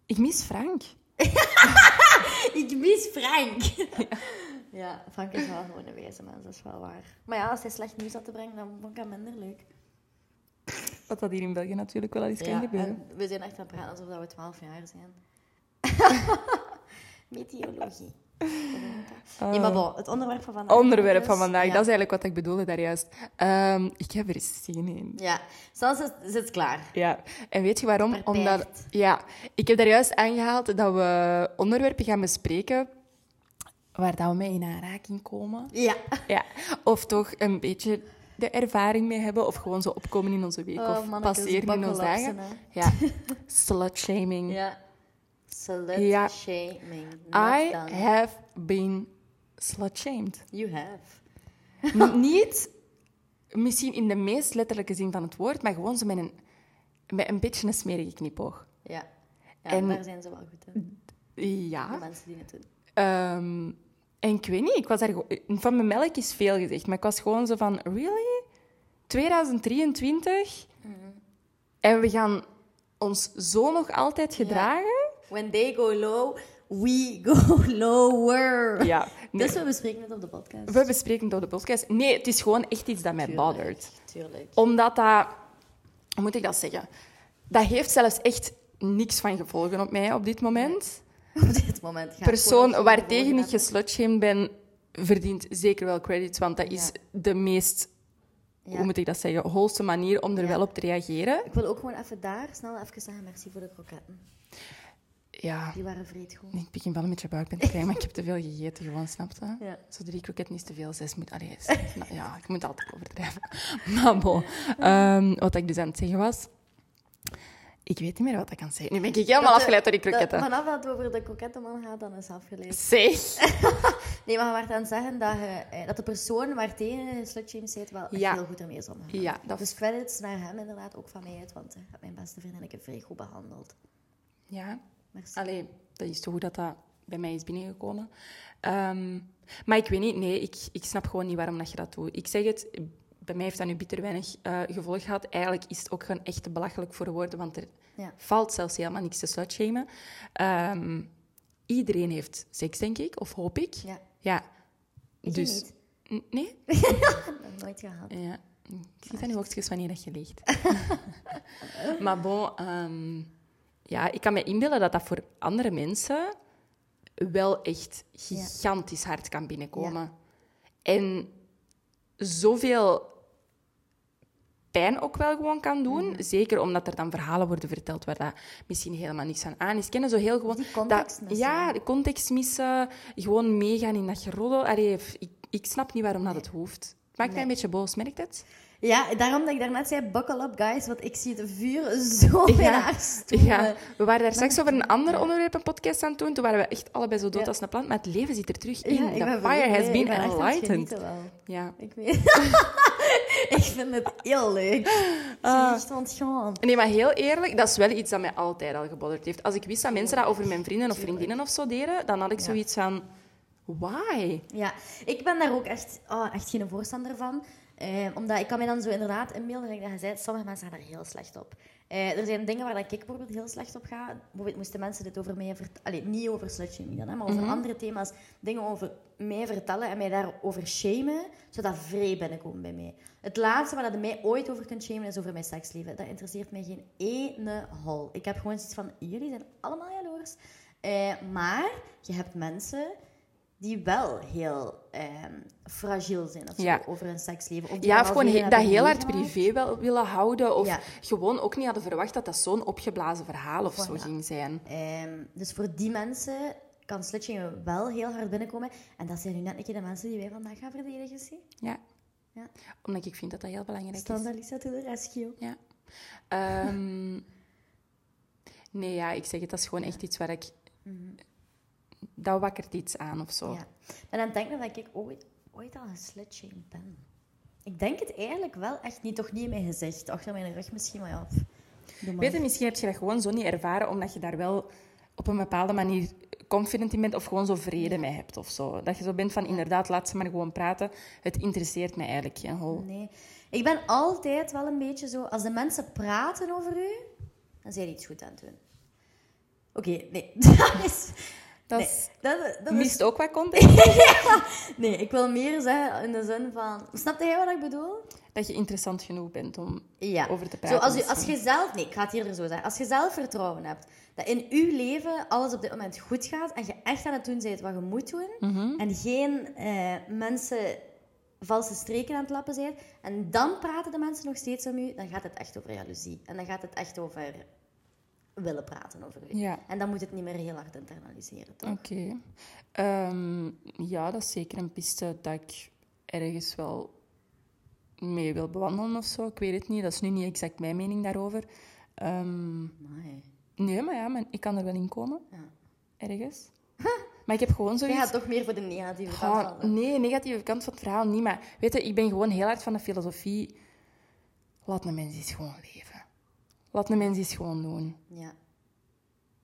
Speaker 1: Ik mis Frank.
Speaker 2: Ik mis Frank. Ja. Frank is wel gewoon een wezen mens, dat is wel waar. Maar ja, als hij slecht nieuws had te brengen, dan vond ik dat minder leuk.
Speaker 1: Wat dat hier in België natuurlijk wel eens kan
Speaker 2: eh,
Speaker 1: gebeuren.
Speaker 2: en we zijn echt aan het praten alsof dat we 12 jaar zijn. Meteorologie. Nee, maar bon, het onderwerp van vandaag.
Speaker 1: Eh, Onderwerp
Speaker 2: is-
Speaker 1: van vandaag,
Speaker 2: dus, ja.
Speaker 1: dat is eigenlijk wat ik bedoelde daarjuist. Ehm ik heb er zin in.
Speaker 2: Ja, zelfs is het klaar.
Speaker 1: Ja, en weet je waarom?
Speaker 2: Beperkt.
Speaker 1: Omdat, ja, ik heb daar juist aangehaald dat we onderwerpen gaan bespreken waar dat we mee in aanraking komen.
Speaker 2: Ja.
Speaker 1: Ja, of toch een beetje de ervaring mee hebben, of gewoon zo opkomen in onze week,
Speaker 2: Oh,
Speaker 1: of
Speaker 2: mannetjes,
Speaker 1: passeren in onze
Speaker 2: bakkelapsen,
Speaker 1: dagen. Ja, slutshaming.
Speaker 2: Ja. Salute
Speaker 1: Ja.
Speaker 2: shaming.
Speaker 1: I
Speaker 2: Not done.
Speaker 1: have been slutshamed.
Speaker 2: You have.
Speaker 1: N- Niet misschien in de meest letterlijke zin van het woord, maar gewoon zo met een, met een beetje een smerige knipoog.
Speaker 2: Ja. ja
Speaker 1: En- Ah.
Speaker 2: daar zijn ze wel goed in. De
Speaker 1: Ja.
Speaker 2: mensen die het doen.
Speaker 1: Ehm, en ik weet niet, ik was daar gewoon- Van mijn melk is veel gezegd, maar ik was gewoon zo van... Really? 2023?
Speaker 2: Mhm.
Speaker 1: En we gaan ons zo nog altijd gedragen?
Speaker 2: When they go low, we go lower.
Speaker 1: Ja. nee.
Speaker 2: Dus we bespreken het op de podcast.
Speaker 1: We bespreken door de podcast. Nee, het is gewoon echt iets dat mij
Speaker 2: Tuurlijk,
Speaker 1: bothert.
Speaker 2: Tuurlijk.
Speaker 1: Omdat dat, hoe moet ik dat zeggen? Dat heeft zelfs echt niks van gevolgen op mij op dit moment.
Speaker 2: Op dit moment gaat
Speaker 1: Persoon waartegen ik
Speaker 2: tegen
Speaker 1: geslutshamed ben, verdient zeker wel credits, want dat is de meest, hoe moet ik dat zeggen, holste manier om er
Speaker 2: Ja.
Speaker 1: wel op te reageren.
Speaker 2: Ik wil ook gewoon even daar snel even zeggen merci voor de kroketten.
Speaker 1: Ja,
Speaker 2: Die waren vreed goed.
Speaker 1: ik begin wel een beetje buikpijn te krijgen, maar ik heb te veel gegeten, gewoon, snapte?
Speaker 2: Ja.
Speaker 1: Zo drie kroketten is te veel, zes moet... Allee, zes- nou ja, ik moet altijd overdrijven. Maar bon, ehm, wat ik dus aan het zeggen was... Ik weet niet meer wat ik kan zeggen. Nu ben ik helemaal
Speaker 2: Dat de-
Speaker 1: afgeleid door die
Speaker 2: dat-
Speaker 1: kroketten.
Speaker 2: vanaf dat het over de krokettenman gaat, dan is het afgeleid.
Speaker 1: Zeg!
Speaker 2: Nee, maar je werd aan het zeggen dat, je, eh, dat de persoon waartegen je slutshame zit wel echt
Speaker 1: Ja.
Speaker 2: heel goed ermee is omgegaan.
Speaker 1: Ja, dat
Speaker 2: Dus credits naar hem inderdaad, ook van mij uit, want eh, hij heeft mijn beste vriendinnetje vrij goed behandeld.
Speaker 1: Ja.
Speaker 2: Merci.
Speaker 1: Allee, dat is toch goed dat dat bij mij is binnengekomen. Ehm, maar ik weet niet, nee, ik, ik snap gewoon niet waarom dat je dat doet. Ik zeg het, bij mij heeft dat nu bitter weinig eh, gevolg gehad. Eigenlijk is het ook gewoon echt te belachelijk voor woorden, want er
Speaker 2: Ja.
Speaker 1: valt zelfs helemaal niks te sluitshamen. Ehm iedereen heeft seks, denk ik, of hoop ik.
Speaker 2: Ja.
Speaker 1: Ja.
Speaker 2: Ik
Speaker 1: dus.
Speaker 2: niet.
Speaker 1: N- Nee?
Speaker 2: Dat heb ik nooit gehad.
Speaker 1: Ja. Ik zie dat nu hoogstens wanneer dat je ligt. maar bon, ehm, ja, ik kan me inbeelden dat dat voor andere mensen wel echt gigantisch hard kan binnenkomen. En zoveel pijn ook wel gewoon kan doen. Zeker omdat er dan verhalen worden verteld waar dat misschien helemaal niks aan aan is. Kennen zo heel gewoon...
Speaker 2: Die context
Speaker 1: dat,
Speaker 2: missen.
Speaker 1: Ja, de context missen. Gewoon meegaan in dat geroddel. Allee, f- ik, ik snap niet waarom dat het hoeft. Het maakt mij een beetje boos, merkt het?
Speaker 2: Ja, daarom dat ik daarnet zei, buckle up guys, want ik zie het vuur zo in haar stoelen.
Speaker 1: ja. We waren daar straks over een ander onderwerp een podcast aan het doen. Toen waren we echt allebei zo dood
Speaker 2: Ja.
Speaker 1: als een plant. Maar het leven zit er terug in.
Speaker 2: Ja, ik
Speaker 1: The
Speaker 2: ben
Speaker 1: fire
Speaker 2: verliefd.
Speaker 1: has
Speaker 2: Nee,
Speaker 1: been
Speaker 2: ik ben echt aan het
Speaker 1: enlightened.
Speaker 2: genieten wel.
Speaker 1: Ja.
Speaker 2: Ik weet Ik vind het heel leuk. Ik
Speaker 1: Ah.
Speaker 2: ben echt ontschoon.
Speaker 1: Nee, maar heel eerlijk, dat is wel iets dat mij altijd al gebodderd heeft. Als ik wist dat mensen dat over mijn vrienden of vriendinnen of zo deden, dan had ik zoiets van... Why?
Speaker 2: Ja, ik ben daar ook echt, oh, echt geen voorstander van. Eh, omdat ik kan mij dan zo inderdaad inbeelden, dat ik dat zei, sommige mensen gaan daar heel slecht op. Eh, er zijn dingen waar dat ik bijvoorbeeld heel slecht op ga. Bijvoorbeeld moesten mensen dit over mij vertellen. Allee, niet over slutshaming dan, hè, maar over andere thema's. Dingen over mij vertellen en mij daarover shamen, zodat vrij binnenkomen bij mij. Het laatste waar dat je mij ooit over kunt shamen, is over mijn seksleven. Dat interesseert mij geen ene hol. Ik heb gewoon zoiets van, jullie zijn allemaal jaloers. Eh, maar je hebt mensen die wel heel ehm, fragiel zijn of zo,
Speaker 1: Ja.
Speaker 2: over hun seksleven. Of die
Speaker 1: Ja, of
Speaker 2: wel
Speaker 1: gewoon
Speaker 2: veel
Speaker 1: he- dat
Speaker 2: hebben
Speaker 1: heel hard
Speaker 2: meegemaakt.
Speaker 1: privé wel willen houden. Of
Speaker 2: Ja.
Speaker 1: gewoon ook niet hadden verwacht dat dat zo'n opgeblazen verhaal of zo
Speaker 2: Voilà.
Speaker 1: ging zijn.
Speaker 2: Ehm, dus voor die mensen kan slutshaming wel heel hard binnenkomen. En dat zijn nu net een keer de mensen die wij vandaag gaan verdedigen, zie.
Speaker 1: Ja.
Speaker 2: Ja.
Speaker 1: Omdat ik vind dat dat heel belangrijk is.
Speaker 2: Standa Lisa to the rescue.
Speaker 1: Ja. Ehm, nee, ja, ik zeg het, dat is gewoon echt iets waar ik... Dat wakkert iets aan of zo.
Speaker 2: Ja. Maar dan denk ik dat ik ooit, ooit al een slutshamed ben. Ik denk het eigenlijk wel echt niet, toch niet in mijn gezicht. Achter mijn rug misschien, maar ja. pff, doe maar.
Speaker 1: Weet je, misschien heb je dat gewoon zo niet ervaren, omdat je daar wel op een bepaalde manier confident in bent of gewoon zo vrede mee hebt of zo. Dat je zo bent van, inderdaad, laat ze maar gewoon praten. Het interesseert mij eigenlijk geen hol.
Speaker 2: Nee. Ik ben altijd wel een beetje zo... Als de mensen praten over u, dan zijn die iets goed aan het doen. Oké, nee. Dat is...
Speaker 1: Dat
Speaker 2: nee,
Speaker 1: is-
Speaker 2: dat, dat is...
Speaker 1: Mist ook wat content?
Speaker 2: Nee, ik wil meer zeggen in de zin van... Snapte jij wat ik bedoel?
Speaker 1: dat je interessant genoeg bent om
Speaker 2: Ja.
Speaker 1: over te
Speaker 2: Zo,
Speaker 1: praten.
Speaker 2: als, u, als
Speaker 1: misschien.
Speaker 2: je zelf... Nee, ik ga het hier zo zeggen. Als je zelf vertrouwen hebt dat in uw leven alles op dit moment goed gaat en je echt aan het doen bent wat je moet doen
Speaker 1: Mhm.
Speaker 2: en geen eh, mensen valse streken aan het lappen zijn en dan praten de mensen nog steeds om u, dan gaat het echt over jaloezie. En dan gaat het echt over willen praten over u.
Speaker 1: Ja.
Speaker 2: En dan moet het niet meer heel hard internaliseren, toch?
Speaker 1: Oké. Ehm, ja, dat is zeker een piste dat ik ergens wel mee wil bewandelen of zo. Ik weet het niet. Dat is nu niet exact mijn mening daarover. Ehm,
Speaker 2: Amai.
Speaker 1: nee, maar ja, maar ik kan er wel in komen.
Speaker 2: Ja.
Speaker 1: Ergens. Maar ik heb gewoon
Speaker 2: Jij
Speaker 1: zoiets...
Speaker 2: gaat toch meer voor de negatieve kant
Speaker 1: Goh,
Speaker 2: vallen.
Speaker 1: nee, negatieve kant van het verhaal niet. Maar weet je, ik ben gewoon heel hard van de filosofie... Laat een mens eens gewoon leven. Laat een mens eens gewoon doen.
Speaker 2: Ja.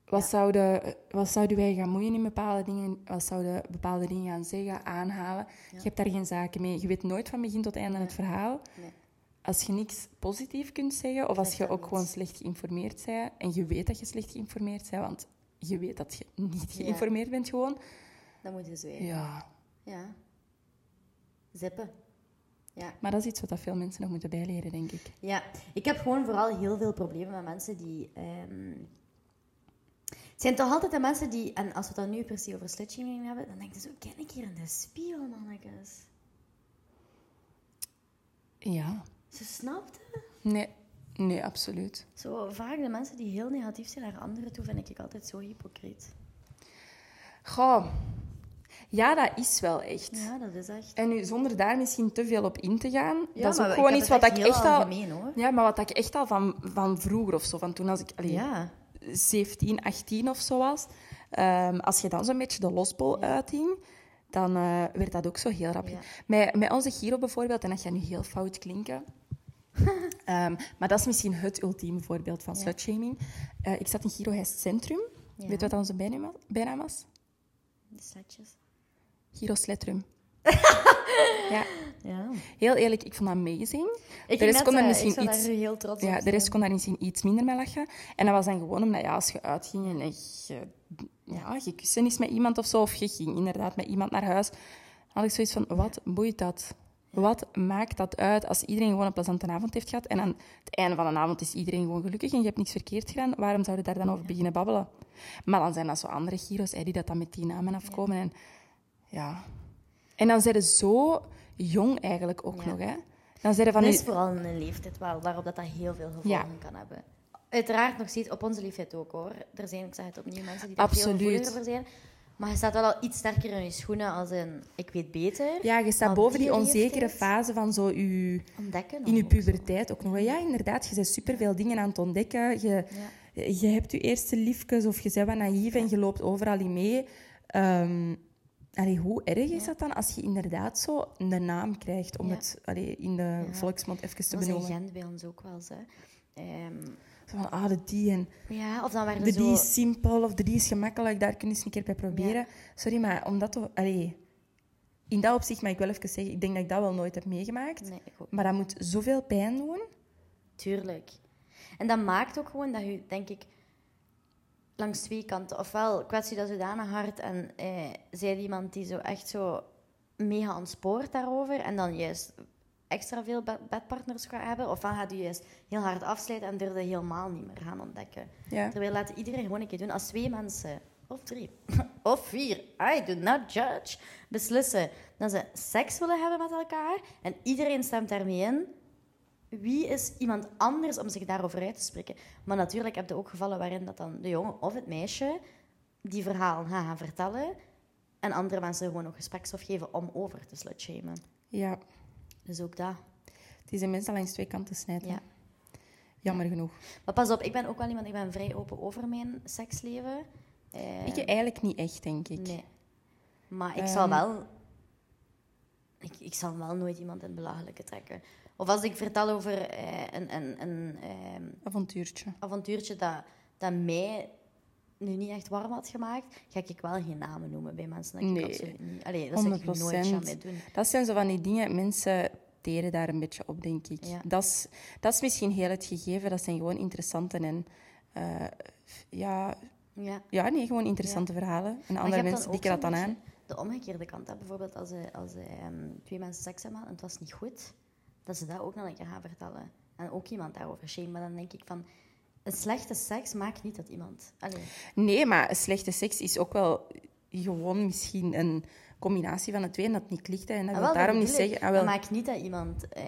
Speaker 1: Wat, zouden, eh, wat zouden wij gaan moeien in bepaalde dingen? Wat zouden bepaalde dingen gaan zeggen, aanhalen? Je hebt daar geen zaken mee. Je weet nooit van begin tot einde het verhaal.
Speaker 2: Nee.
Speaker 1: Als je niks positief kunt zeggen, of als
Speaker 2: Zeg
Speaker 1: je
Speaker 2: dat
Speaker 1: ook
Speaker 2: niet.
Speaker 1: gewoon slecht geïnformeerd bent, en je weet dat je slecht geïnformeerd bent, want je weet dat je niet
Speaker 2: Ja.
Speaker 1: geïnformeerd bent gewoon.
Speaker 2: Dan moet je zwijgen. Ja.
Speaker 1: Ja,
Speaker 2: Zippen. Ja.
Speaker 1: maar dat is iets wat dat veel mensen nog moeten bijleren, denk ik.
Speaker 2: Ja, ik heb gewoon vooral heel veel problemen met mensen die. ehm, Het zijn toch altijd de mensen die. En als we het dan nu per se over slutshaming hebben, dan denk je zo: ken ik hier in de spiegel, mannetjes?
Speaker 1: Ja.
Speaker 2: Ze snapt het.
Speaker 1: Nee, nee absoluut.
Speaker 2: Zo vaak de mensen die heel negatief zijn naar anderen toe, vind ik altijd zo hypocriet.
Speaker 1: Goh. Ja, dat is wel echt.
Speaker 2: Ja, dat is echt.
Speaker 1: En nu, zonder daar misschien te veel op in te gaan,
Speaker 2: Ja,
Speaker 1: dat is
Speaker 2: maar
Speaker 1: ook
Speaker 2: ik
Speaker 1: gewoon
Speaker 2: heb
Speaker 1: iets
Speaker 2: het
Speaker 1: wat ik
Speaker 2: echt heel
Speaker 1: echt al...
Speaker 2: algemeen, hoor.
Speaker 1: Ja, maar wat ik echt al van, van vroeger of zo, van toen als ik allee,
Speaker 2: Ja.
Speaker 1: 17, 18 of zo was, ehm, als je dan zo'n beetje de losbol uithing, dan eh, werd dat ook zo heel rap.
Speaker 2: Ja.
Speaker 1: Met, met onze Giro bijvoorbeeld, en dat gaat nu heel fout klinken, Ehm, maar dat is misschien het ultieme voorbeeld van slutshaming. Eh, ik zat in Giro Heist Centrum.
Speaker 2: Ja.
Speaker 1: Weet je wat onze bijnaam was? Bijnaam was?
Speaker 2: De sletjes.
Speaker 1: Gyros Letrum. ja,
Speaker 2: Ja.
Speaker 1: heel eerlijk, ik vond dat amazing.
Speaker 2: Ik
Speaker 1: de
Speaker 2: ging
Speaker 1: rest
Speaker 2: net,
Speaker 1: kon er
Speaker 2: eh,
Speaker 1: misschien
Speaker 2: ik zou
Speaker 1: iets...
Speaker 2: daar heel trots op
Speaker 1: Ja, de
Speaker 2: zijn.
Speaker 1: rest kon daar misschien iets minder mee lachen. En dat was dan gewoon omdat ja, als je uitging en je, ja, je kuste is met iemand of zo, of je ging inderdaad met iemand naar huis, had ik zoiets van, wat boeit dat? Wat maakt dat uit als iedereen gewoon een plezante avond heeft gehad en aan het einde van de avond is iedereen gewoon gelukkig en je hebt niks verkeerd gedaan, waarom zou je daar dan over beginnen babbelen? Maar dan zijn dat zo andere gyros hè, die dat dan met die namen afkomen. En, ja. en dan zijn ze zo jong eigenlijk ook nog. Hè? Dan zijn ze van
Speaker 2: Dat
Speaker 1: die-
Speaker 2: is vooral een leeftijd waar- waarop dat, dat heel veel gevolgen
Speaker 1: Ja.
Speaker 2: kan hebben. Uiteraard nog steeds op onze leeftijd ook hoor. Er zijn, ik zeg het opnieuw, mensen die daar veel
Speaker 1: Absoluut.
Speaker 2: gevoeliger voor zijn. Maar je staat wel al iets sterker in je schoenen als een ik weet beter.
Speaker 1: Ja, je staat
Speaker 2: Maar
Speaker 1: boven die
Speaker 2: die
Speaker 1: onzekere
Speaker 2: leeftijd?
Speaker 1: fase van zo je,
Speaker 2: Ontdekken.
Speaker 1: in je
Speaker 2: ook.
Speaker 1: puberteit ook nog. hè.
Speaker 2: Mm.
Speaker 1: Ja, inderdaad, je bent superveel dingen aan het ontdekken. Je, je hebt je eerste liefkes of je bent wat naïef en je loopt overal in mee. Ehm, allee, hoe erg is dat dan als je inderdaad zo een naam krijgt, om
Speaker 2: Ja.
Speaker 1: het allee, in de volksmond even te
Speaker 2: Dat was in
Speaker 1: benoemen?
Speaker 2: Gent bij ons ook wel eens. Hè. Ehm,
Speaker 1: Zo van, ah, de die en
Speaker 2: ja, of dan waren
Speaker 1: de
Speaker 2: er
Speaker 1: die
Speaker 2: zo...
Speaker 1: is simpel of de die is gemakkelijk, daar kun je eens een keer bij proberen. Sorry, maar omdat... toch- Allee, in dat opzicht mag ik wel even zeggen, ik denk dat ik dat wel nooit heb meegemaakt.
Speaker 2: Nee, ik ook.
Speaker 1: Maar dat moet zoveel pijn doen.
Speaker 2: Tuurlijk. En dat maakt ook gewoon dat je, denk ik, langs twee kanten. Ofwel kwets je dat zodanig hard en eh, zij die iemand die zo echt zo mega ontspoort daarover en dan juist extra veel bed- bedpartners gaat hebben. Ofwel gaat je juist heel hard afsluiten en durf je helemaal niet meer gaan ontdekken.
Speaker 1: Ja.
Speaker 2: Terwijl laat iedereen gewoon een keer doen als twee mensen, of drie, of vier, I do not judge, beslissen dat ze seks willen hebben met elkaar en iedereen stemt daarmee in. Wie is iemand anders om zich daarover uit te spreken? Maar natuurlijk heb je ook gevallen waarin dat dan de jongen of het meisje die verhalen gaan gaan vertellen en andere mensen gewoon nog gesprekstof geven om over te slutshamen.
Speaker 1: Ja,
Speaker 2: Dus ook dat.
Speaker 1: het is een mens dat langs twee kanten snijdt. hè.
Speaker 2: Ja.
Speaker 1: Jammer genoeg.
Speaker 2: Maar pas op, ik ben ook wel iemand, ik ben vrij open over mijn seksleven. Eh,
Speaker 1: Ik eigenlijk niet Ehm. echt, denk ik.
Speaker 2: Nee. Maar ik zal wel... Ik, ik zal wel nooit iemand in het belachelijke trekken. Of als ik vertel over eh, een, een, een ehm,
Speaker 1: Avontuurtje.
Speaker 2: avontuurtje dat, dat mij nu niet echt warm had gemaakt, ga ik wel geen namen noemen bij mensen. Dat ik
Speaker 1: Nee.
Speaker 2: absoluut niet... Allee, dat zou ik
Speaker 1: 100%.
Speaker 2: nooit gaan mee doen.
Speaker 1: Dat zijn zo van die dingen, mensen teren daar een beetje op, denk ik.
Speaker 2: Ja.
Speaker 1: Dat, is, dat is misschien heel het gegeven, dat zijn gewoon interessante en... eh, ja,
Speaker 2: Ja.
Speaker 1: ja, nee, gewoon interessante verhalen. En andere
Speaker 2: Maar je hebt
Speaker 1: mensen
Speaker 2: dan
Speaker 1: dikken
Speaker 2: ook
Speaker 1: dat dan
Speaker 2: zo'n
Speaker 1: aan.
Speaker 2: beetje De omgekeerde kant, hè. bijvoorbeeld als, ze- als ze, ehm, twee mensen seks hebben gehad en het was niet goed, dat ze dat ook nog een keer gaan vertellen. En ook iemand daarover shame. Maar dan denk ik van, een slechte seks maakt niet dat iemand... Allee,
Speaker 1: Nee, maar slechte seks is ook wel gewoon misschien een combinatie van de twee en dat het niet klikt. hè. En dat
Speaker 2: Ah,
Speaker 1: wil
Speaker 2: wel, dat
Speaker 1: daarom niet
Speaker 2: bedoel ik.
Speaker 1: zeggen... ah, wel.
Speaker 2: Dat maakt niet dat iemand eh,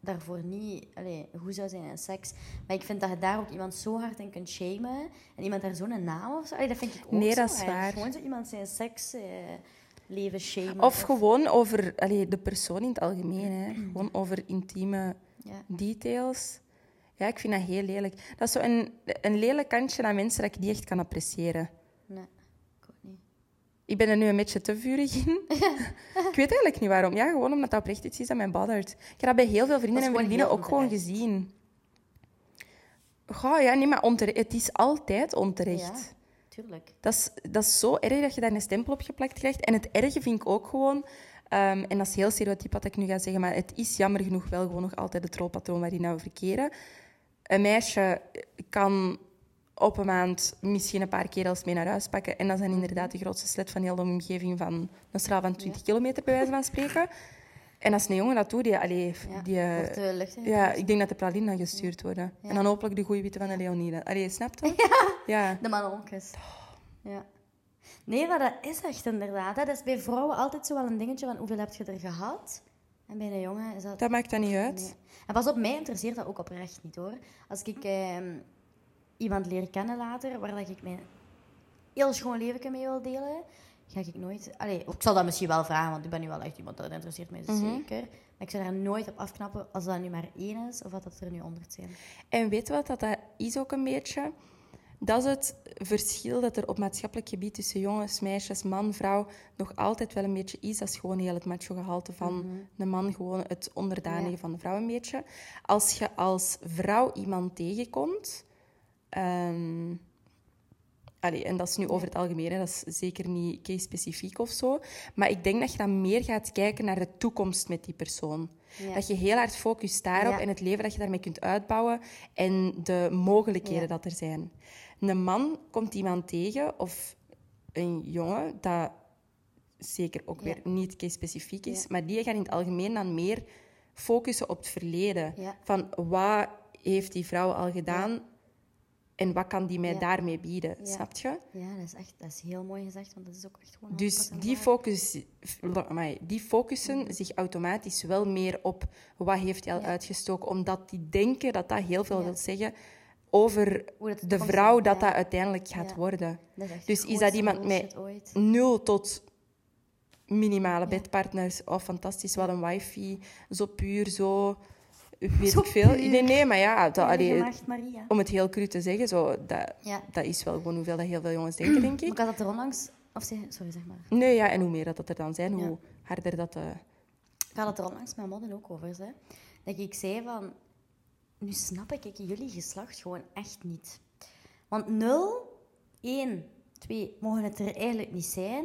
Speaker 2: daarvoor niet allee, goed zou zijn in seks. Maar ik vind dat je daar ook iemand zo hard in kunt shamen. En iemand daar zo'n naam of zo. Allee, dat vind ik ook
Speaker 1: Nee,
Speaker 2: zo
Speaker 1: dat is
Speaker 2: erg.
Speaker 1: waar.
Speaker 2: Gewoon zo iemand zijn seksleven leven shamen.
Speaker 1: Of gewoon over allee, de persoon in het algemeen. Hè. Gewoon over intieme
Speaker 2: Ja.
Speaker 1: details. Ja, ik vind dat heel lelijk. Dat is zo een, een lelijk kantje aan mensen dat ik niet echt kan appreciëren.
Speaker 2: Nee, ik ook niet.
Speaker 1: Ik ben er nu een beetje te vurig in. ik weet eigenlijk niet waarom. Ja, gewoon omdat dat oprecht iets is dat mij bothert. Ik heb dat bij heel veel
Speaker 2: Dat
Speaker 1: vrienden en
Speaker 2: is gewoon
Speaker 1: vriendinnen
Speaker 2: heel
Speaker 1: ook gewoon
Speaker 2: onterecht.
Speaker 1: gezien. Goh, ja, nee, maar ontere- het is altijd
Speaker 2: Ja,
Speaker 1: onterecht.
Speaker 2: tuurlijk.
Speaker 1: Dat is, dat is zo erg dat je daar een stempel op geplakt krijgt. En het erge vind ik ook gewoon, ehm, en dat is heel stereotyp wat ik nu ga zeggen, maar het is jammer genoeg wel gewoon nog altijd het rolpatroon waarin dat we verkeren. Een meisje kan op een maand misschien een paar kerels mee naar huis pakken. En dat zijn inderdaad de grootste slet van heel de omgeving van een straal van 20 kilometer, bij wijze van spreken. En als een jongen dat doet, die... Allee,
Speaker 2: Ja,
Speaker 1: die eh,
Speaker 2: wordt de lucht in
Speaker 1: ja, ik denk dat de pralinen dan gestuurd worden. En dan hopelijk de goeie witte van de Leonida. Allee, snap je? ja.
Speaker 2: De mannenhonkjes. Ja. Nee, maar dat is echt inderdaad. hè. Dat is bij vrouwen altijd zo wel een dingetje van hoeveel heb je er gehad? En bij een jongen is dat...
Speaker 1: Dat maakt dat niet uit.
Speaker 2: Nee. En pas op, mij interesseert dat ook oprecht niet hoor. Als ik ehm, iemand leer kennen later, waar dat ik mijn heel schoon leven mee wil delen, ga ik nooit. Allee, ik zal dat misschien wel vragen, want ik ben nu wel echt iemand dat interesseert mij
Speaker 1: Mhm.
Speaker 2: zeker. Maar ik zou daar nooit op afknappen als dat nu maar één is of dat het er nu honderd zijn.
Speaker 1: En weet wat dat, dat is ook een beetje? Dat is het verschil dat er op maatschappelijk gebied tussen jongens, meisjes, man, vrouw nog altijd wel een beetje is. Dat is gewoon heel het macho gehalte van de man, gewoon het onderdanige van de vrouw een beetje. Als je als vrouw iemand tegenkomt, ehm, Allee, en dat is nu over het algemeen, hè. dat is zeker niet case-specifiek of zo. Maar ik denk dat je dan meer gaat kijken naar de toekomst met die persoon.
Speaker 2: Ja.
Speaker 1: Dat je heel hard focust daarop
Speaker 2: Ja.
Speaker 1: en het leven dat je daarmee kunt uitbouwen en de mogelijkheden
Speaker 2: Ja.
Speaker 1: dat er zijn. Een man komt iemand tegen of een jongen dat zeker ook weer niet case-specifiek is,
Speaker 2: Ja.
Speaker 1: maar die gaat in het algemeen dan meer focussen op het verleden.
Speaker 2: Ja.
Speaker 1: Van wat heeft die vrouw al gedaan en wat kan die mij
Speaker 2: Ja.
Speaker 1: daarmee bieden,
Speaker 2: Ja.
Speaker 1: snapt je?
Speaker 2: Ja, dat is echt dat is heel mooi gezegd, want dat is ook echt gewoon.
Speaker 1: Dus
Speaker 2: 100%
Speaker 1: die,
Speaker 2: waar.
Speaker 1: focus, f- amai, die focussen zich automatisch wel meer op wat heeft hij al
Speaker 2: Ja.
Speaker 1: uitgestoken, omdat die denken dat dat heel veel
Speaker 2: Ja.
Speaker 1: wil zeggen over
Speaker 2: Hoe dat het
Speaker 1: de
Speaker 2: komt,
Speaker 1: vrouw dat
Speaker 2: ja.
Speaker 1: dat uiteindelijk gaat
Speaker 2: Ja.
Speaker 1: worden.
Speaker 2: Dat is echt
Speaker 1: Dus
Speaker 2: de
Speaker 1: is dat
Speaker 2: grootste
Speaker 1: iemand met
Speaker 2: bullshit ooit.
Speaker 1: nul tot minimale bedpartners. Oh, fantastisch, wat een wifi. Zo puur, zo... Weet
Speaker 2: Zo
Speaker 1: ik veel.
Speaker 2: puur.
Speaker 1: Nee, nee, maar ja... Dat,
Speaker 2: Heilige
Speaker 1: allee,
Speaker 2: Maagd Maria.
Speaker 1: om het heel cru te zeggen, zo, dat,
Speaker 2: Ja.
Speaker 1: dat is wel gewoon hoeveel dat heel veel jongens denken, denk
Speaker 2: Maar
Speaker 1: ik.
Speaker 2: ik had dat er onlangs... Of zeg, sorry, zeg maar.
Speaker 1: Nee, ja, en hoe meer dat, dat er dan zijn,
Speaker 2: Ja.
Speaker 1: hoe harder dat... eh,
Speaker 2: Ik had het er onlangs met mijn modder ook over. Hè. Dat ik zei van... Nu snap ik jullie geslacht gewoon echt niet. Want 0, 1, 2 mogen het er eigenlijk niet zijn.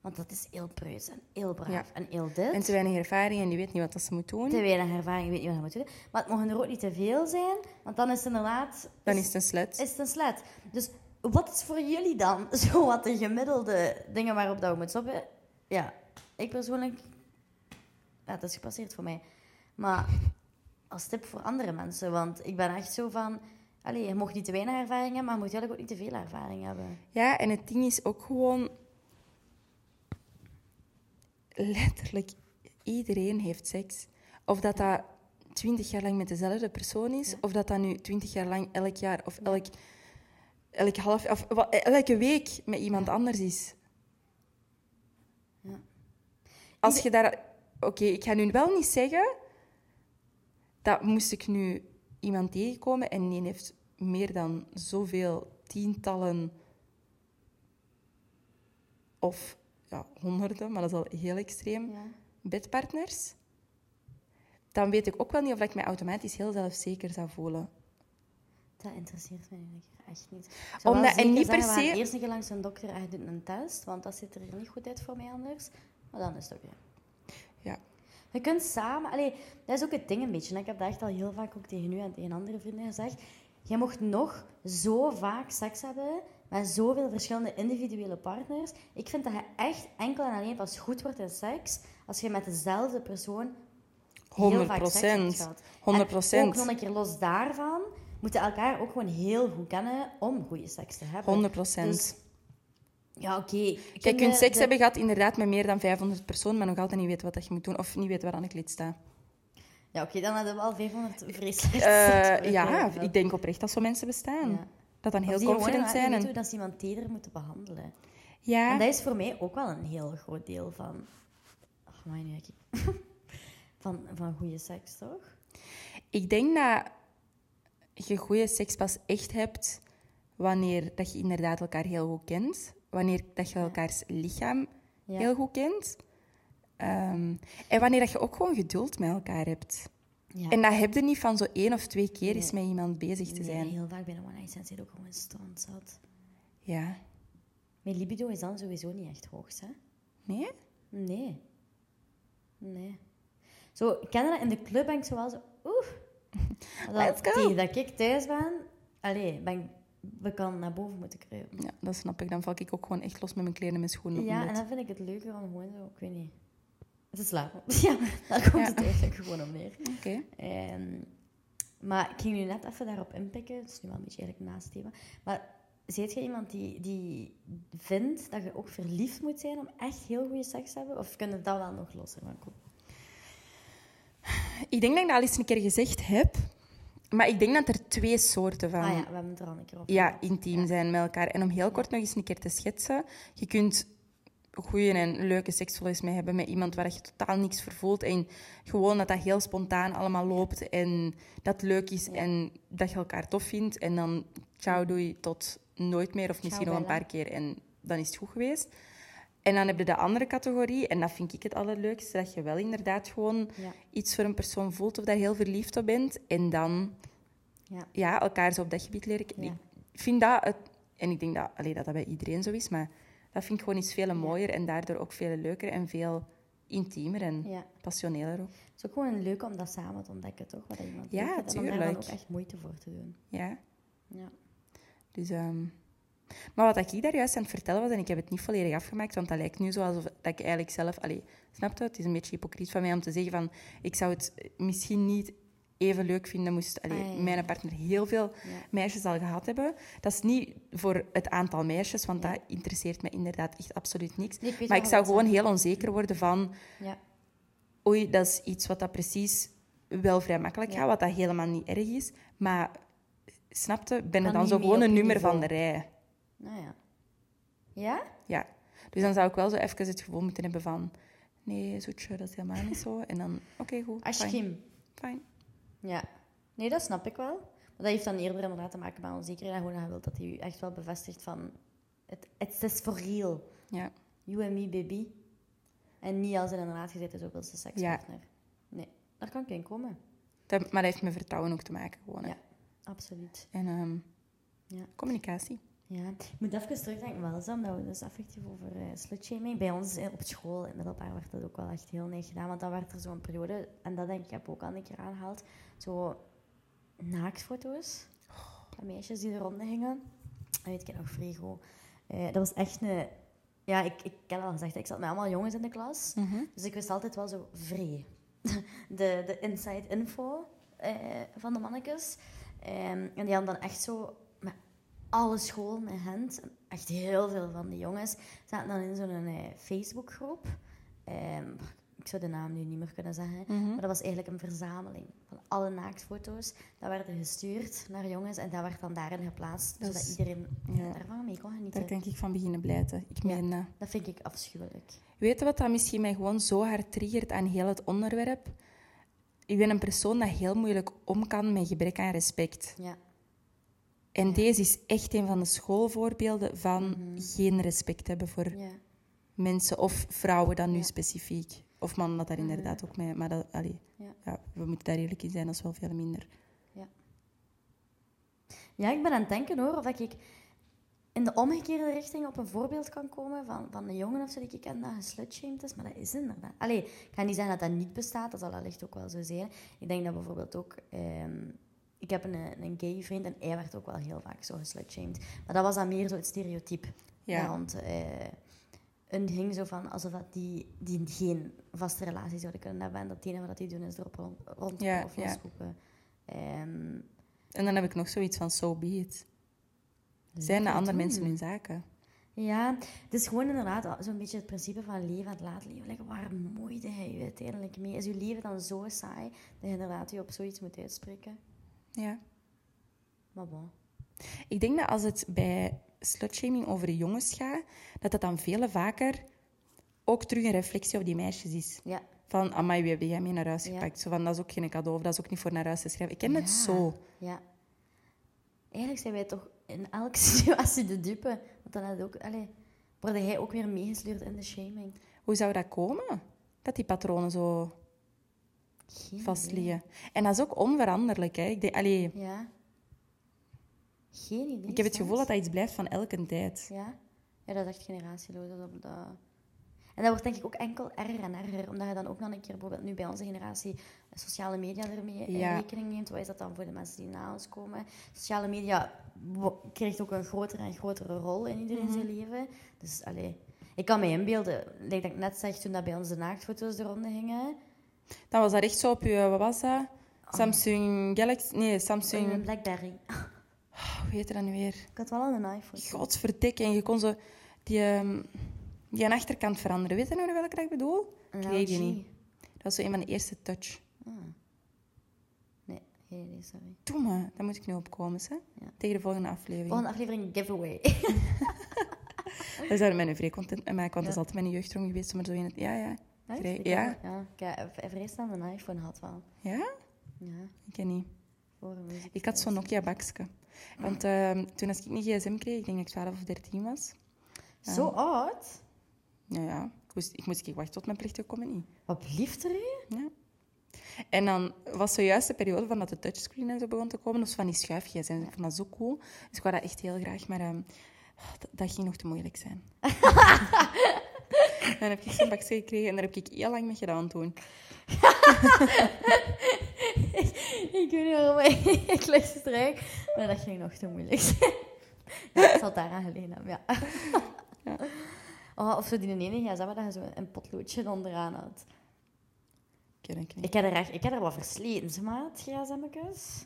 Speaker 2: Want dat is heel preus en heel braaf
Speaker 1: Ja.
Speaker 2: en heel dit.
Speaker 1: En te weinig ervaring en die weet niet wat dat ze moet doen.
Speaker 2: Te weinig ervaring, weet niet wat je moet doen. Maar het mogen er ook niet te veel zijn. Want dan is het inderdaad...
Speaker 1: Dan is het een slut.
Speaker 2: is het een slet. Dus wat is voor jullie dan zo wat de gemiddelde dingen waarop dat we moeten stoppen? Ja, ik persoonlijk... Ja, dat is gepasseerd voor mij. Maar als tip voor andere mensen, want ik ben echt zo van... Allee, je mag niet te weinig ervaring hebben, maar je moet eigenlijk ook niet te veel ervaring hebben.
Speaker 1: Ja, en het ding is ook gewoon... Letterlijk, iedereen heeft seks. Of dat dat twintig jaar lang met dezelfde persoon is, of dat dat nu twintig jaar lang elk jaar of elk, elk half... Of wa- elke week met iemand anders is.
Speaker 2: Ja.
Speaker 1: Als je daar... Oké, ik ga nu wel niet zeggen... Dat moest ik nu iemand tegenkomen en die heeft meer dan zoveel tientallen of ja, honderden, maar dat is al heel extreem,
Speaker 2: Ja.
Speaker 1: bedpartners, dan weet ik ook wel niet of ik mij automatisch heel zelfzeker zou voelen.
Speaker 2: Dat interesseert mij eigenlijk echt niet. Ik zou
Speaker 1: Omdat-
Speaker 2: wel zeker
Speaker 1: en niet per
Speaker 2: zeggen, we gaan
Speaker 1: se-
Speaker 2: Eerst een keer langs een dokter en je doet een test, want dat ziet er niet goed uit voor mij anders. Maar dan is het oké.
Speaker 1: Ja.
Speaker 2: Je kunt samen... Allee, dat is ook het ding een beetje. hè. Ik heb dat echt al heel vaak ook tegen u en tegen andere vrienden gezegd. Je mocht nog zo vaak seks hebben met zoveel verschillende individuele partners. Ik vind dat je echt enkel en alleen pas goed wordt in seks als je met dezelfde persoon
Speaker 1: 100
Speaker 2: vaak seks hebt
Speaker 1: procent.
Speaker 2: gehad.
Speaker 1: 100
Speaker 2: En ook nog
Speaker 1: procent.
Speaker 2: een keer los daarvan moeten elkaar ook gewoon heel goed kennen om goede seks te hebben.
Speaker 1: 100 procent.
Speaker 2: Dus, ja, oké.
Speaker 1: Je
Speaker 2: Kunnen
Speaker 1: kunt seks
Speaker 2: de-
Speaker 1: hebben gehad inderdaad met meer dan 500 personen, maar nog altijd niet weten wat dat je moet doen of niet weten waar aan ik lid sta.
Speaker 2: Ja, oké, dan hadden we al 500 vreselijk
Speaker 1: Eh, ja, ik denk oprecht dat zo mensen bestaan.
Speaker 2: Ja.
Speaker 1: Dat dan heel
Speaker 2: Of die
Speaker 1: confident
Speaker 2: gewoon
Speaker 1: zijn.
Speaker 2: niet
Speaker 1: En,
Speaker 2: hoe dat ze iemand teder moeten behandelen. En
Speaker 1: ja,
Speaker 2: dat is voor mij ook wel een heel groot deel van... Ach, maar nu heb ik... van, van goede seks, toch?
Speaker 1: ik denk dat je goede seks pas echt hebt wanneer dat je inderdaad elkaar heel goed kent. Wanneer dat je elkaars lichaam
Speaker 2: Ja.
Speaker 1: heel goed kent. Ehm, en wanneer dat je ook gewoon geduld met elkaar hebt.
Speaker 2: Ja.
Speaker 1: En dat heb je niet van zo één of twee keer eens met
Speaker 2: Nee.
Speaker 1: iemand bezig te
Speaker 2: Nee,
Speaker 1: zijn.
Speaker 2: heel vaak bij de one-night stand zit ook gewoon strand zat.
Speaker 1: Ja.
Speaker 2: Mijn libido is dan sowieso niet echt hoog, hè?
Speaker 1: Nee?
Speaker 2: Nee. Nee. Zo, ik ken dat in de club ben ik zo wel zo... Oeh. Dan
Speaker 1: Let's go.
Speaker 2: Tegen dat ik thuis ben... Allee, ben ik... We kan naar boven moeten kruipen.
Speaker 1: Ja, dat snap ik. Dan val ik ook gewoon echt los met mijn kleren en mijn schoenen. op
Speaker 2: Ja,
Speaker 1: mijn
Speaker 2: en
Speaker 1: bed.
Speaker 2: dan vind ik het leuker om gewoon zo... Ik weet niet. Het is slapen. Ja, daar komt
Speaker 1: Ja.
Speaker 2: het eigenlijk gewoon om neer.
Speaker 1: Oké.
Speaker 2: Ehm, maar ik ging nu net even daarop inpikken. Het is nu wel een beetje eigenlijk naast thema. Maar zijt je iemand die, die vindt dat je ook verliefd moet zijn om echt heel goede seks te hebben? Of kunnen we dat wel nog losser van kopen?
Speaker 1: Ik denk dat ik dat al eens een keer gezegd heb. Maar ik denk dat er twee soorten van
Speaker 2: Ah ja, we hebben het er al een keer op.
Speaker 1: Ehm, ja,
Speaker 2: gehad.
Speaker 1: intiem zijn met elkaar. En om heel kort nog eens een keer te schetsen. Je kunt goede en leuke seks volgens mij hebben met iemand waar je totaal niks voor voelt. En gewoon dat dat heel spontaan allemaal loopt. En dat het leuk is en dat je elkaar tof vindt. En dan ciao doei tot nooit meer of misschien nog een
Speaker 2: Bella.
Speaker 1: paar keer. En dan is het goed geweest. En dan heb je de andere categorie. En dat vind ik het allerleukste. Dat je wel inderdaad gewoon
Speaker 2: Ja.
Speaker 1: iets voor een persoon voelt of daar heel verliefd op bent. En dan
Speaker 2: Ja.
Speaker 1: ja, elkaar zo op dat gebied leren kennen.
Speaker 2: Ja.
Speaker 1: Ik vind dat het En ik denk dat, allee, dat dat bij iedereen zo is, maar dat vind ik gewoon iets veel mooier en daardoor ook veel leuker en veel intiemer en
Speaker 2: Ja.
Speaker 1: passioneler ook.
Speaker 2: Het is ook gewoon leuk om dat samen te ontdekken, toch? Wat iemand
Speaker 1: Ja,
Speaker 2: leuk vindt En om daar dan
Speaker 1: tuurlijk.
Speaker 2: ook echt moeite voor te doen.
Speaker 1: Ja.
Speaker 2: Ja.
Speaker 1: Dus, ehm, Maar wat ik daar juist aan het vertellen was, en ik heb het niet volledig afgemaakt, want dat lijkt nu zo alsof dat ik eigenlijk zelf... Allee, snap je? Het is een beetje hypocriet van mij om te zeggen van... Ik zou het misschien niet even leuk vinden moest allee,
Speaker 2: Ah, ja, ja.
Speaker 1: mijn partner heel veel meisjes al gehad hebben. Dat is niet voor het aantal meisjes, want dat interesseert me inderdaad echt absoluut niks.
Speaker 2: Nee, ik weet
Speaker 1: maar
Speaker 2: wel
Speaker 1: ik
Speaker 2: wat
Speaker 1: zou
Speaker 2: je
Speaker 1: gewoon heel onzeker worden van...
Speaker 2: Ja.
Speaker 1: Oei, dat is iets wat dat precies wel vrij makkelijk
Speaker 2: Ja.
Speaker 1: gaat, wat dat helemaal niet erg is. Maar snapte, ben
Speaker 2: Kan
Speaker 1: er dan
Speaker 2: niet
Speaker 1: zo
Speaker 2: mee
Speaker 1: gewoon
Speaker 2: op
Speaker 1: een
Speaker 2: je
Speaker 1: nummer
Speaker 2: niveau.
Speaker 1: van de rij.
Speaker 2: Nou ja. Ja?
Speaker 1: Ja. Dus dan zou ik wel zo even het gevoel moeten hebben van... Nee, zoetje, dat is helemaal niet zo. En dan, oké, goed, fijn.
Speaker 2: Aschim.
Speaker 1: fijn.
Speaker 2: Ja. Nee, dat snap ik wel. Maar dat heeft dan eerder inderdaad te maken met onzekerheid. En gewoon dat je wilt dat hij u echt wel bevestigt van... Het het is for real.
Speaker 1: Ja.
Speaker 2: You and me, baby. En niet als in een relatie zit, is ook wel zijn sekspartner. Nee, daar kan ik in komen.
Speaker 1: Dat, maar dat heeft met vertrouwen ook te maken, gewoon. hè.
Speaker 2: Ja, absoluut.
Speaker 1: En ehm,
Speaker 2: Ja.
Speaker 1: communicatie.
Speaker 2: Ja. Ik moet even terugdenken, wel eens, omdat we dus effectief over eh, slutshaming... Bij ons eh, op school, in het middelbaar, werd dat ook wel echt heel neig gedaan. Want dan werd er zo'n periode, en dat denk ik heb ik ook al een keer aangehaald, zo naaktfoto's van meisjes die er rond hingen. Dat weet ik nog, Frigo. Eh, dat was echt een... Ja, ik, ik heb al gezegd, ik zat met allemaal jongens in de klas.
Speaker 1: Mhm.
Speaker 2: Dus ik wist altijd wel zo vrij. De, de inside info eh, van de mannetjes. Ehm, en die hadden dan echt zo met alle school in Gent, en echt heel veel van de jongens, zaten dan in zo'n eh, Facebookgroep. Ehm, ik zou de naam nu niet meer kunnen zeggen,
Speaker 1: Mhm.
Speaker 2: maar dat was eigenlijk een verzameling van alle naaktfoto's. Dat werden gestuurd naar jongens en dat werd dan daarin geplaatst,
Speaker 1: Dat is-
Speaker 2: zodat iedereen eh,
Speaker 1: ja.
Speaker 2: daarvan mee kon genieten.
Speaker 1: Daar denk ik van beginnen blijten. Ik
Speaker 2: Ja.
Speaker 1: meen... eh,
Speaker 2: Dat vind ik afschuwelijk.
Speaker 1: Weet je wat dat misschien mij gewoon zo hard triggert aan heel het onderwerp? Ik ben een persoon dat heel moeilijk om kan met gebrek aan respect.
Speaker 2: Ja.
Speaker 1: En deze is echt een van de schoolvoorbeelden van geen respect hebben voor
Speaker 2: Mhm. ja.
Speaker 1: mensen of vrouwen dan nu
Speaker 2: Ja. Mhm.
Speaker 1: specifiek. Of mannen dat daar inderdaad ook mee. Maar dat, allee,
Speaker 2: Ja.
Speaker 1: ja. we moeten daar eerlijk in zijn, dat is wel veel minder.
Speaker 2: Ja, ik ben aan het denken hoor, of ik in de omgekeerde richting op een voorbeeld kan komen van, van een jongen of zo die ik ken dat geslutshamed is, maar dat is inderdaad... Allee, ik ga niet zeggen dat dat niet bestaat, dat zal allicht ook wel zo zijn. Ik denk dat bijvoorbeeld ook... ehm, ik heb een, een gay vriend en hij werd ook wel heel vaak zo geslutshamed. Maar dat was dan meer zo het stereotype.
Speaker 1: Ja.
Speaker 2: Want eh, een hing zo van alsof dat die, die geen vaste relatie zouden kunnen hebben en dat het enige wat die doen is erop rond, rond
Speaker 1: Ja,
Speaker 2: of
Speaker 1: ja.
Speaker 2: losroepen. Ehm,
Speaker 1: En dan heb ik nog zoiets van, so be it. Zijn de andere mensen hun zaken?
Speaker 2: Ja, het is gewoon inderdaad zo'n beetje het principe van leven en het laten leven. Like, waar moeide hij je uiteindelijk mee? Is je leven dan zo saai dat je inderdaad je op zoiets moet uitspreken?
Speaker 1: Ja.
Speaker 2: Maar bon.
Speaker 1: Ik denk dat als het bij slutshaming over de jongens gaat, dat dat dan veel vaker ook terug een reflectie op die meisjes is.
Speaker 2: Ja,
Speaker 1: Van, amai, wie heb jij mee naar huis
Speaker 2: Ja.
Speaker 1: gepakt? Zo van, dat is ook geen cadeau, of dat is ook niet voor naar huis te schrijven. Ik ken
Speaker 2: Ja.
Speaker 1: het zo.
Speaker 2: ja. Eigenlijk zijn wij toch in elke situatie de dupe. Want dan had ook, allee, worden hij ook weer meegesleurd in de shaming.
Speaker 1: Hoe zou dat komen? Dat die patronen zo
Speaker 2: Geen idee.
Speaker 1: vast liggen. En dat is ook onveranderlijk. Hè? Ik, denk, allee,
Speaker 2: Ja. Geen idee.
Speaker 1: ik heb het gevoel
Speaker 2: soms.
Speaker 1: dat dat iets blijft van elke tijd.
Speaker 2: Ja? Ja, dat is echt generatieloos. Dat, dat... En dat wordt denk ik ook enkel erger en erger. Omdat je dan ook nog een keer, bijvoorbeeld nu bij onze generatie, sociale media ermee in
Speaker 1: Ja.
Speaker 2: rekening neemt. Wat is dat dan voor de mensen die na ons komen? Sociale media wo- krijgt ook een grotere en grotere rol in
Speaker 1: Mhm.
Speaker 2: iedereen zijn leven. Dus, allee... Ik kan me inbeelden, like dat ik net zeg, toen dat bij onze naaktfoto's de ronde gingen.
Speaker 1: Dan was dat echt zo op je, wat was dat?
Speaker 2: Ah.
Speaker 1: Samsung Galaxy? Nee, Samsung...
Speaker 2: Een Blackberry.
Speaker 1: Hoe heet dat nu weer?
Speaker 2: Ik had wel al een iPhone.
Speaker 1: Godverdikke. En je kon zo die, ehm, die aan achterkant veranderen. Weet je nou welke dat ik bedoel?
Speaker 2: Een
Speaker 1: ik weet die
Speaker 2: LG.
Speaker 1: niet. Dat was zo een van de eerste touch.
Speaker 2: Nee, geen idee, sorry.
Speaker 1: Doe me. Daar moet ik nu op komen, hè?
Speaker 2: Ja.
Speaker 1: Tegen de volgende aflevering.
Speaker 2: Volgende aflevering, giveaway.
Speaker 1: Daar zijn mijn vrij content mee maken, want
Speaker 2: Ja.
Speaker 1: dat is altijd mijn jeugdroom geweest. Maar zo in het... Ja, ja.
Speaker 2: Echt?
Speaker 1: Vrij-
Speaker 2: Ik heb-
Speaker 1: Ja?
Speaker 2: Ja, ik heb ik heb eerst aan een iPhone had wel.
Speaker 1: Ja?
Speaker 2: Ja,
Speaker 1: Ik ken niet.
Speaker 2: voor een muziek.
Speaker 1: Ik had zo'n Nokia-bakske. Want
Speaker 2: Ah.
Speaker 1: ehm, toen als ik een gsm kreeg, ik denk dat ik 12 of 13 was.
Speaker 2: Zo
Speaker 1: ah.
Speaker 2: oud?
Speaker 1: Nou ja, ik moest, ik moest ik wachten tot mijn plichten komen niet.
Speaker 2: Wat blieft er u?
Speaker 1: Ja. En dan was zojuist de periode van dat de touchscreen en zo begon te komen. Dus van die schuifjes. En ik vond dat zo cool. Dus ik wou dat echt heel graag. Maar ehm, dat, dat ging nog te moeilijk zijn. en dan heb ik geen vaccin gekregen. En daar heb ik heel lang mee gedaan toen.
Speaker 2: Ik weet niet waarom ik leg ze strijk. Maar dat ging nog te moeilijk zijn. Ja, het zal daaraan gelegen hebben, ja. Oh, of zo die ene gsm dat je zo een potloodje onderaan had.
Speaker 1: Ken ik niet.
Speaker 2: Ik heb er, echt, ik heb er wel versleten, zeg maar, het gsm'tjes.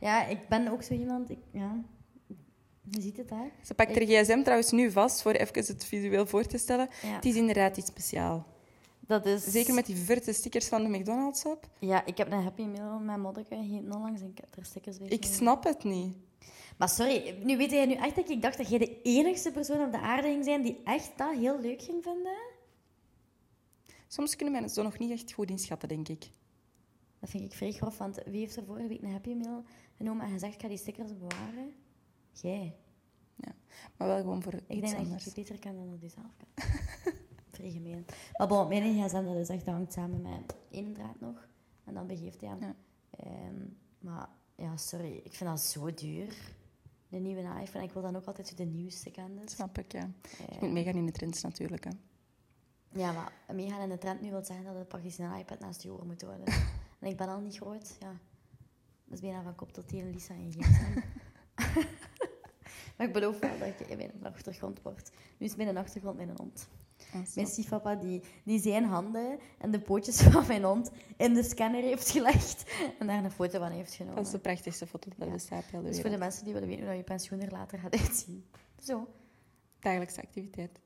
Speaker 2: Ja, ik ben ook zo iemand... Ik, ja. Je ziet het daar.
Speaker 1: Ze pakt haar gsm trouwens nu vast, voor even het visueel voor te stellen.
Speaker 2: Ja.
Speaker 1: Het is inderdaad iets speciaals.
Speaker 2: Dat is...
Speaker 1: Zeker met die verte stickers van de McDonald's op.
Speaker 2: Ja, ik heb een happy meal met mijn moddeke gegeten onlangs en ik heb er stickers bij
Speaker 1: Ik
Speaker 2: gedaan.
Speaker 1: snap het niet.
Speaker 2: Maar sorry, nu weet jij nu echt dat ik dacht dat jij de enigste persoon op de aarde ging zijn die echt dat heel leuk ging vinden?
Speaker 1: Soms kunnen mensen dat nog niet echt goed inschatten, denk ik.
Speaker 2: Dat vind ik vrij grof, want wie heeft er vorige week een Happy Meal genomen en gezegd, ik ga die stickers bewaren? Jij.
Speaker 1: Ja. Maar wel gewoon voor
Speaker 2: Ik
Speaker 1: iets
Speaker 2: denk dat
Speaker 1: anders.
Speaker 2: je het beter kan dan dat je zelf kan. vrij gemeen. Maar bon, mijn gsm, dat is echt, dat hangt samen met één draad nog. En dan begeeft hij hem.
Speaker 1: Ja.
Speaker 2: Ehm, maar ja, sorry, ik vind dat zo duur. De nieuwe iPhone, ik wil dan ook altijd zo de nieuwste kennen.
Speaker 1: Dat snap ik, ja. Je moet meegaan in de trends natuurlijk. Hè.
Speaker 2: Ja, maar meegaan in de trend nu wil zeggen dat het praktisch een iPad naast je oor moet worden. en ik ben al niet groot, ja. Dat is bijna van kop tot teen Lisa en gsm. maar ik beloof wel dat ik in een achtergrond word. Nu is mijn achtergrond mijn hond.
Speaker 1: Ah, zo.
Speaker 2: Mijn stiefpapa die, die zijn handen en de pootjes van mijn hond in de scanner heeft gelegd. En daar een foto van heeft genomen.
Speaker 1: Dat is de prachtigste foto dat er bestaat bij de
Speaker 2: dus voor de
Speaker 1: wereld.
Speaker 2: mensen die willen weten hoe je pensioen er later gaat uitzien. Zo,
Speaker 1: Dagelijkse activiteit.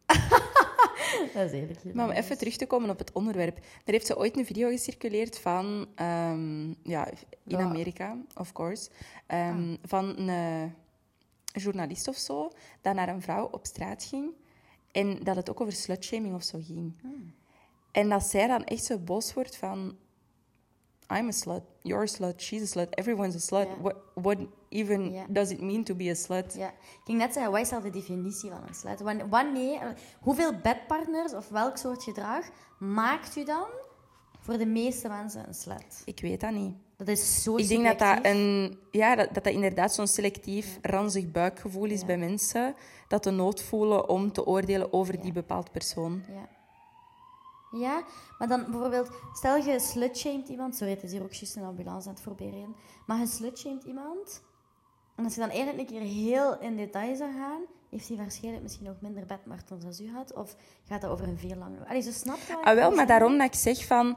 Speaker 2: dat is eerlijk. hier.
Speaker 1: Maar om even terug te komen op het onderwerp. Er heeft ze ooit een video gecirculeerd van... ehm, ja, in
Speaker 2: Ja. Ah.
Speaker 1: Amerika, of course. ehm, Van een eh, journalist of zo, dat naar een vrouw op straat ging. En dat het ook over slutshaming of zo ging.
Speaker 2: Hmm.
Speaker 1: En dat zij dan echt zo boos wordt van... I'm a slut, you're a slut, she's a slut, everyone's a slut.
Speaker 2: Ja.
Speaker 1: What, what even
Speaker 2: Ja.
Speaker 1: does it mean to be a slut?
Speaker 2: Ja, ik ging net zeggen, wat is dan de definitie van een slut? Wan- Wanneer, hoeveel bedpartners of welk soort gedrag maakt u dan voor de meeste mensen een slut?
Speaker 1: Ik weet dat niet.
Speaker 2: Dat is zo
Speaker 1: Ik denk dat dat,
Speaker 2: subjectief.
Speaker 1: een, ja, dat, dat dat inderdaad zo'n selectief, ranzig buikgevoel is
Speaker 2: Ja.
Speaker 1: bij mensen. Dat de nood voelen om te oordelen over die bepaald persoon.
Speaker 2: Ja. ja, maar dan bijvoorbeeld, stel je slutshamed iemand... Sorry, het is hier ook juist een ambulance aan het voorberen. Maar je slutshamed iemand... En als je dan eigenlijk een keer heel in detail zou gaan... Heeft hij waarschijnlijk misschien nog minder bedpartners als u had? Of gaat dat over een veel langer... Allee, ze snapt wel.
Speaker 1: Ah, wel, maar daarom dat ik zeg van...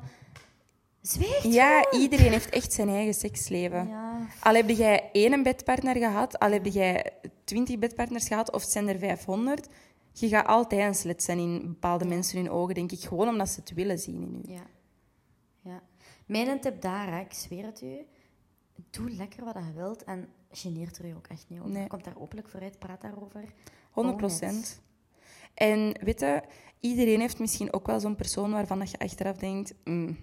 Speaker 2: Zwijg
Speaker 1: Ja, iedereen heeft echt zijn eigen seksleven.
Speaker 2: Ja.
Speaker 1: Al heb jij één bedpartner gehad, al heb jij twintig bedpartners gehad, of het zijn er 500... Je gaat altijd een slet zijn in bepaalde mensen hun ogen, denk ik. Gewoon omdat ze het willen zien in u.
Speaker 2: Ja. ja. Mijn tip daar, hè, ik zweer het u. Doe lekker wat je wilt en geneert er je ook echt niet over.
Speaker 1: Nee.
Speaker 2: Komt daar openlijk voor uit, praat daarover.
Speaker 1: 100
Speaker 2: Own it.
Speaker 1: procent. En weet je, iedereen heeft misschien ook wel zo'n persoon waarvan dat je achteraf denkt, "Mm,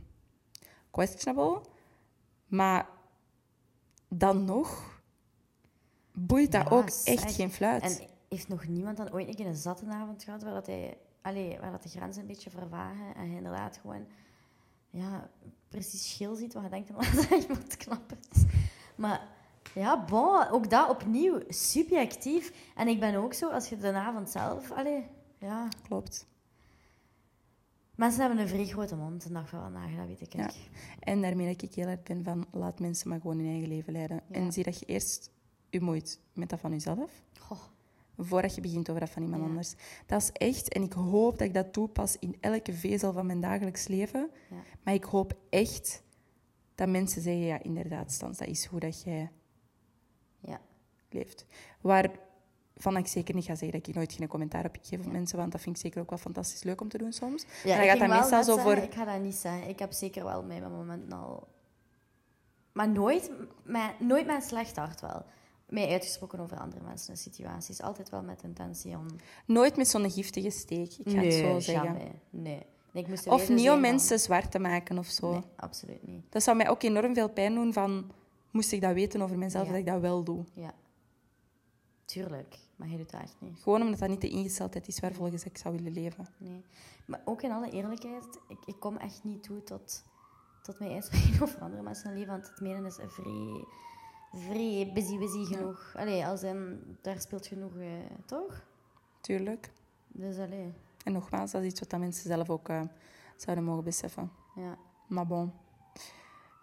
Speaker 1: questionable. Maar dan nog boeit dat
Speaker 2: Ja,
Speaker 1: ook echt
Speaker 2: zeg.
Speaker 1: geen fluit.
Speaker 2: En heeft nog niemand dan ooit een keer een zattenavond gehad waar, dat hij, allee, waar dat de grenzen een beetje vervagen en hij inderdaad gewoon ja, precies schil ziet wat je denkt omdat dat iemand knap is. Maar ja, bon, ook dat opnieuw subjectief. En ik ben ook zo, als je de avond zelf... Allee, ja.
Speaker 1: Klopt.
Speaker 2: Mensen hebben een vrij grote mond de dag van vandaag, dat weet ik.
Speaker 1: Ja. En daarmee dat ik heel erg ben van, laat mensen maar gewoon hun eigen leven leiden. En zie dat je eerst je moeit met dat van jezelf,
Speaker 2: Goh,
Speaker 1: voordat je begint over dat van iemand
Speaker 2: Ja.
Speaker 1: anders. Dat is echt, en ik hoop dat ik dat toepas in elke vezel van mijn dagelijks leven.
Speaker 2: ja.
Speaker 1: Maar ik hoop echt dat mensen zeggen, ja, inderdaad, Stans, dat is hoe dat jij
Speaker 2: ja.
Speaker 1: leeft. Waarvan ik zeker niet ga zeggen dat ik nooit geen commentaar op geef op mensen, want dat vind ik zeker ook wel fantastisch leuk om te doen soms.
Speaker 2: Ja,
Speaker 1: maar
Speaker 2: ik ging
Speaker 1: dan gaat
Speaker 2: wel
Speaker 1: dat meestal
Speaker 2: net
Speaker 1: zo
Speaker 2: zeggen,
Speaker 1: voor...
Speaker 2: Ik ga dat niet zeggen. Ik heb zeker wel met mijn momenten al... Maar nooit met, nooit met een slecht hart wel. Mij uitgesproken over andere mensen en situaties. Altijd wel met intentie om...
Speaker 1: Nooit met zo'n giftige steek, ik ga het zo zeggen.
Speaker 2: jamais. Nee. Nee, ik moest er
Speaker 1: Of
Speaker 2: eerder
Speaker 1: niet
Speaker 2: zijn
Speaker 1: om
Speaker 2: van-
Speaker 1: mensen zwart te maken of zo.
Speaker 2: Nee, absoluut niet.
Speaker 1: Dat zou mij ook enorm veel pijn doen van... Moest ik dat weten over mezelf,
Speaker 2: Ja.
Speaker 1: dat ik dat wel doe.
Speaker 2: Ja. Tuurlijk. Maar hij doet dat echt niet.
Speaker 1: Gewoon omdat dat niet de ingesteldheid is waar volgens ik zou willen leven.
Speaker 2: Nee. Maar ook in alle eerlijkheid, ik, ik kom echt niet toe tot, tot mijn ijsbeen of andere mensen leven. Want het meren is vrij, vrij busy, busy genoeg. Allee, als in, daar speelt genoeg, eh, toch?
Speaker 1: Tuurlijk.
Speaker 2: Dus allee,
Speaker 1: En nogmaals, dat is iets wat dat mensen zelf ook eh, zouden mogen beseffen.
Speaker 2: ja.
Speaker 1: Maar bon.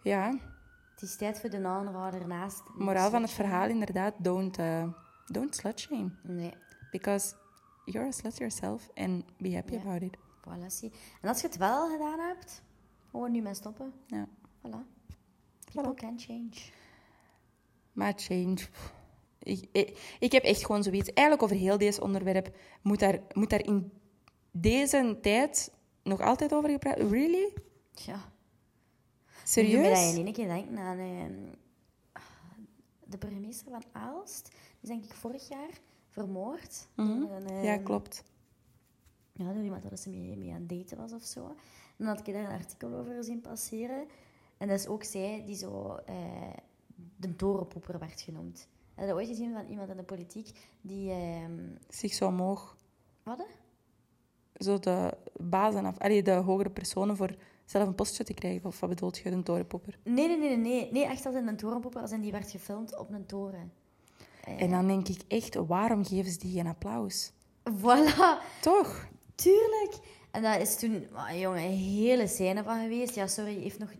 Speaker 1: Ja,
Speaker 2: Het is tijd voor de aanrader ernaast. dus
Speaker 1: moraal van het verhaal inderdaad. Don't, eh, don't slut shame.
Speaker 2: Nee,
Speaker 1: Because you're a slut yourself and be happy
Speaker 2: Ja.
Speaker 1: about it.
Speaker 2: voilà, zie. En als je het wel gedaan hebt, gewoon nu mee stoppen.
Speaker 1: Ja.
Speaker 2: Voilà. People
Speaker 1: Voilà.
Speaker 2: can change.
Speaker 1: Maar change. pff. Ik, ik, ik heb echt gewoon zoiets. Eigenlijk over heel deze onderwerp moet daar, moet daar in deze tijd nog altijd over gepraat Really?
Speaker 2: Ja. Nu doet mij dat
Speaker 1: Serieus?
Speaker 2: in één keer denken aan ehm, de burgemeester van Aalst. Die is denk ik vorig jaar vermoord. door een, ehm,
Speaker 1: Mhm. Ja, klopt.
Speaker 2: Ja, door iemand waar ze mee, mee aan het daten was of zo. En dan had ik daar een artikel over zien passeren. En dat is ook zij die zo eh, de torenpoeper werd genoemd. Heb je dat ooit gezien van iemand in de politiek die... ehm,
Speaker 1: Zich zo omhoog.
Speaker 2: wat? hè?
Speaker 1: Zo de bazen af. Allee, de hogere personen voor zelf een postje te krijgen. Of wat bedoelt je, een torenpopper?
Speaker 2: Nee, nee, nee, nee, nee. Nee, echt als in een torenpoeper. Als in die werd gefilmd op een toren. Eh.
Speaker 1: En dan denk ik echt, waarom geven ze die geen applaus?
Speaker 2: Voilà.
Speaker 1: Toch?
Speaker 2: Tuurlijk. En daar is toen, ah, jongen, een hele scène van geweest. Ja, sorry, heeft nog...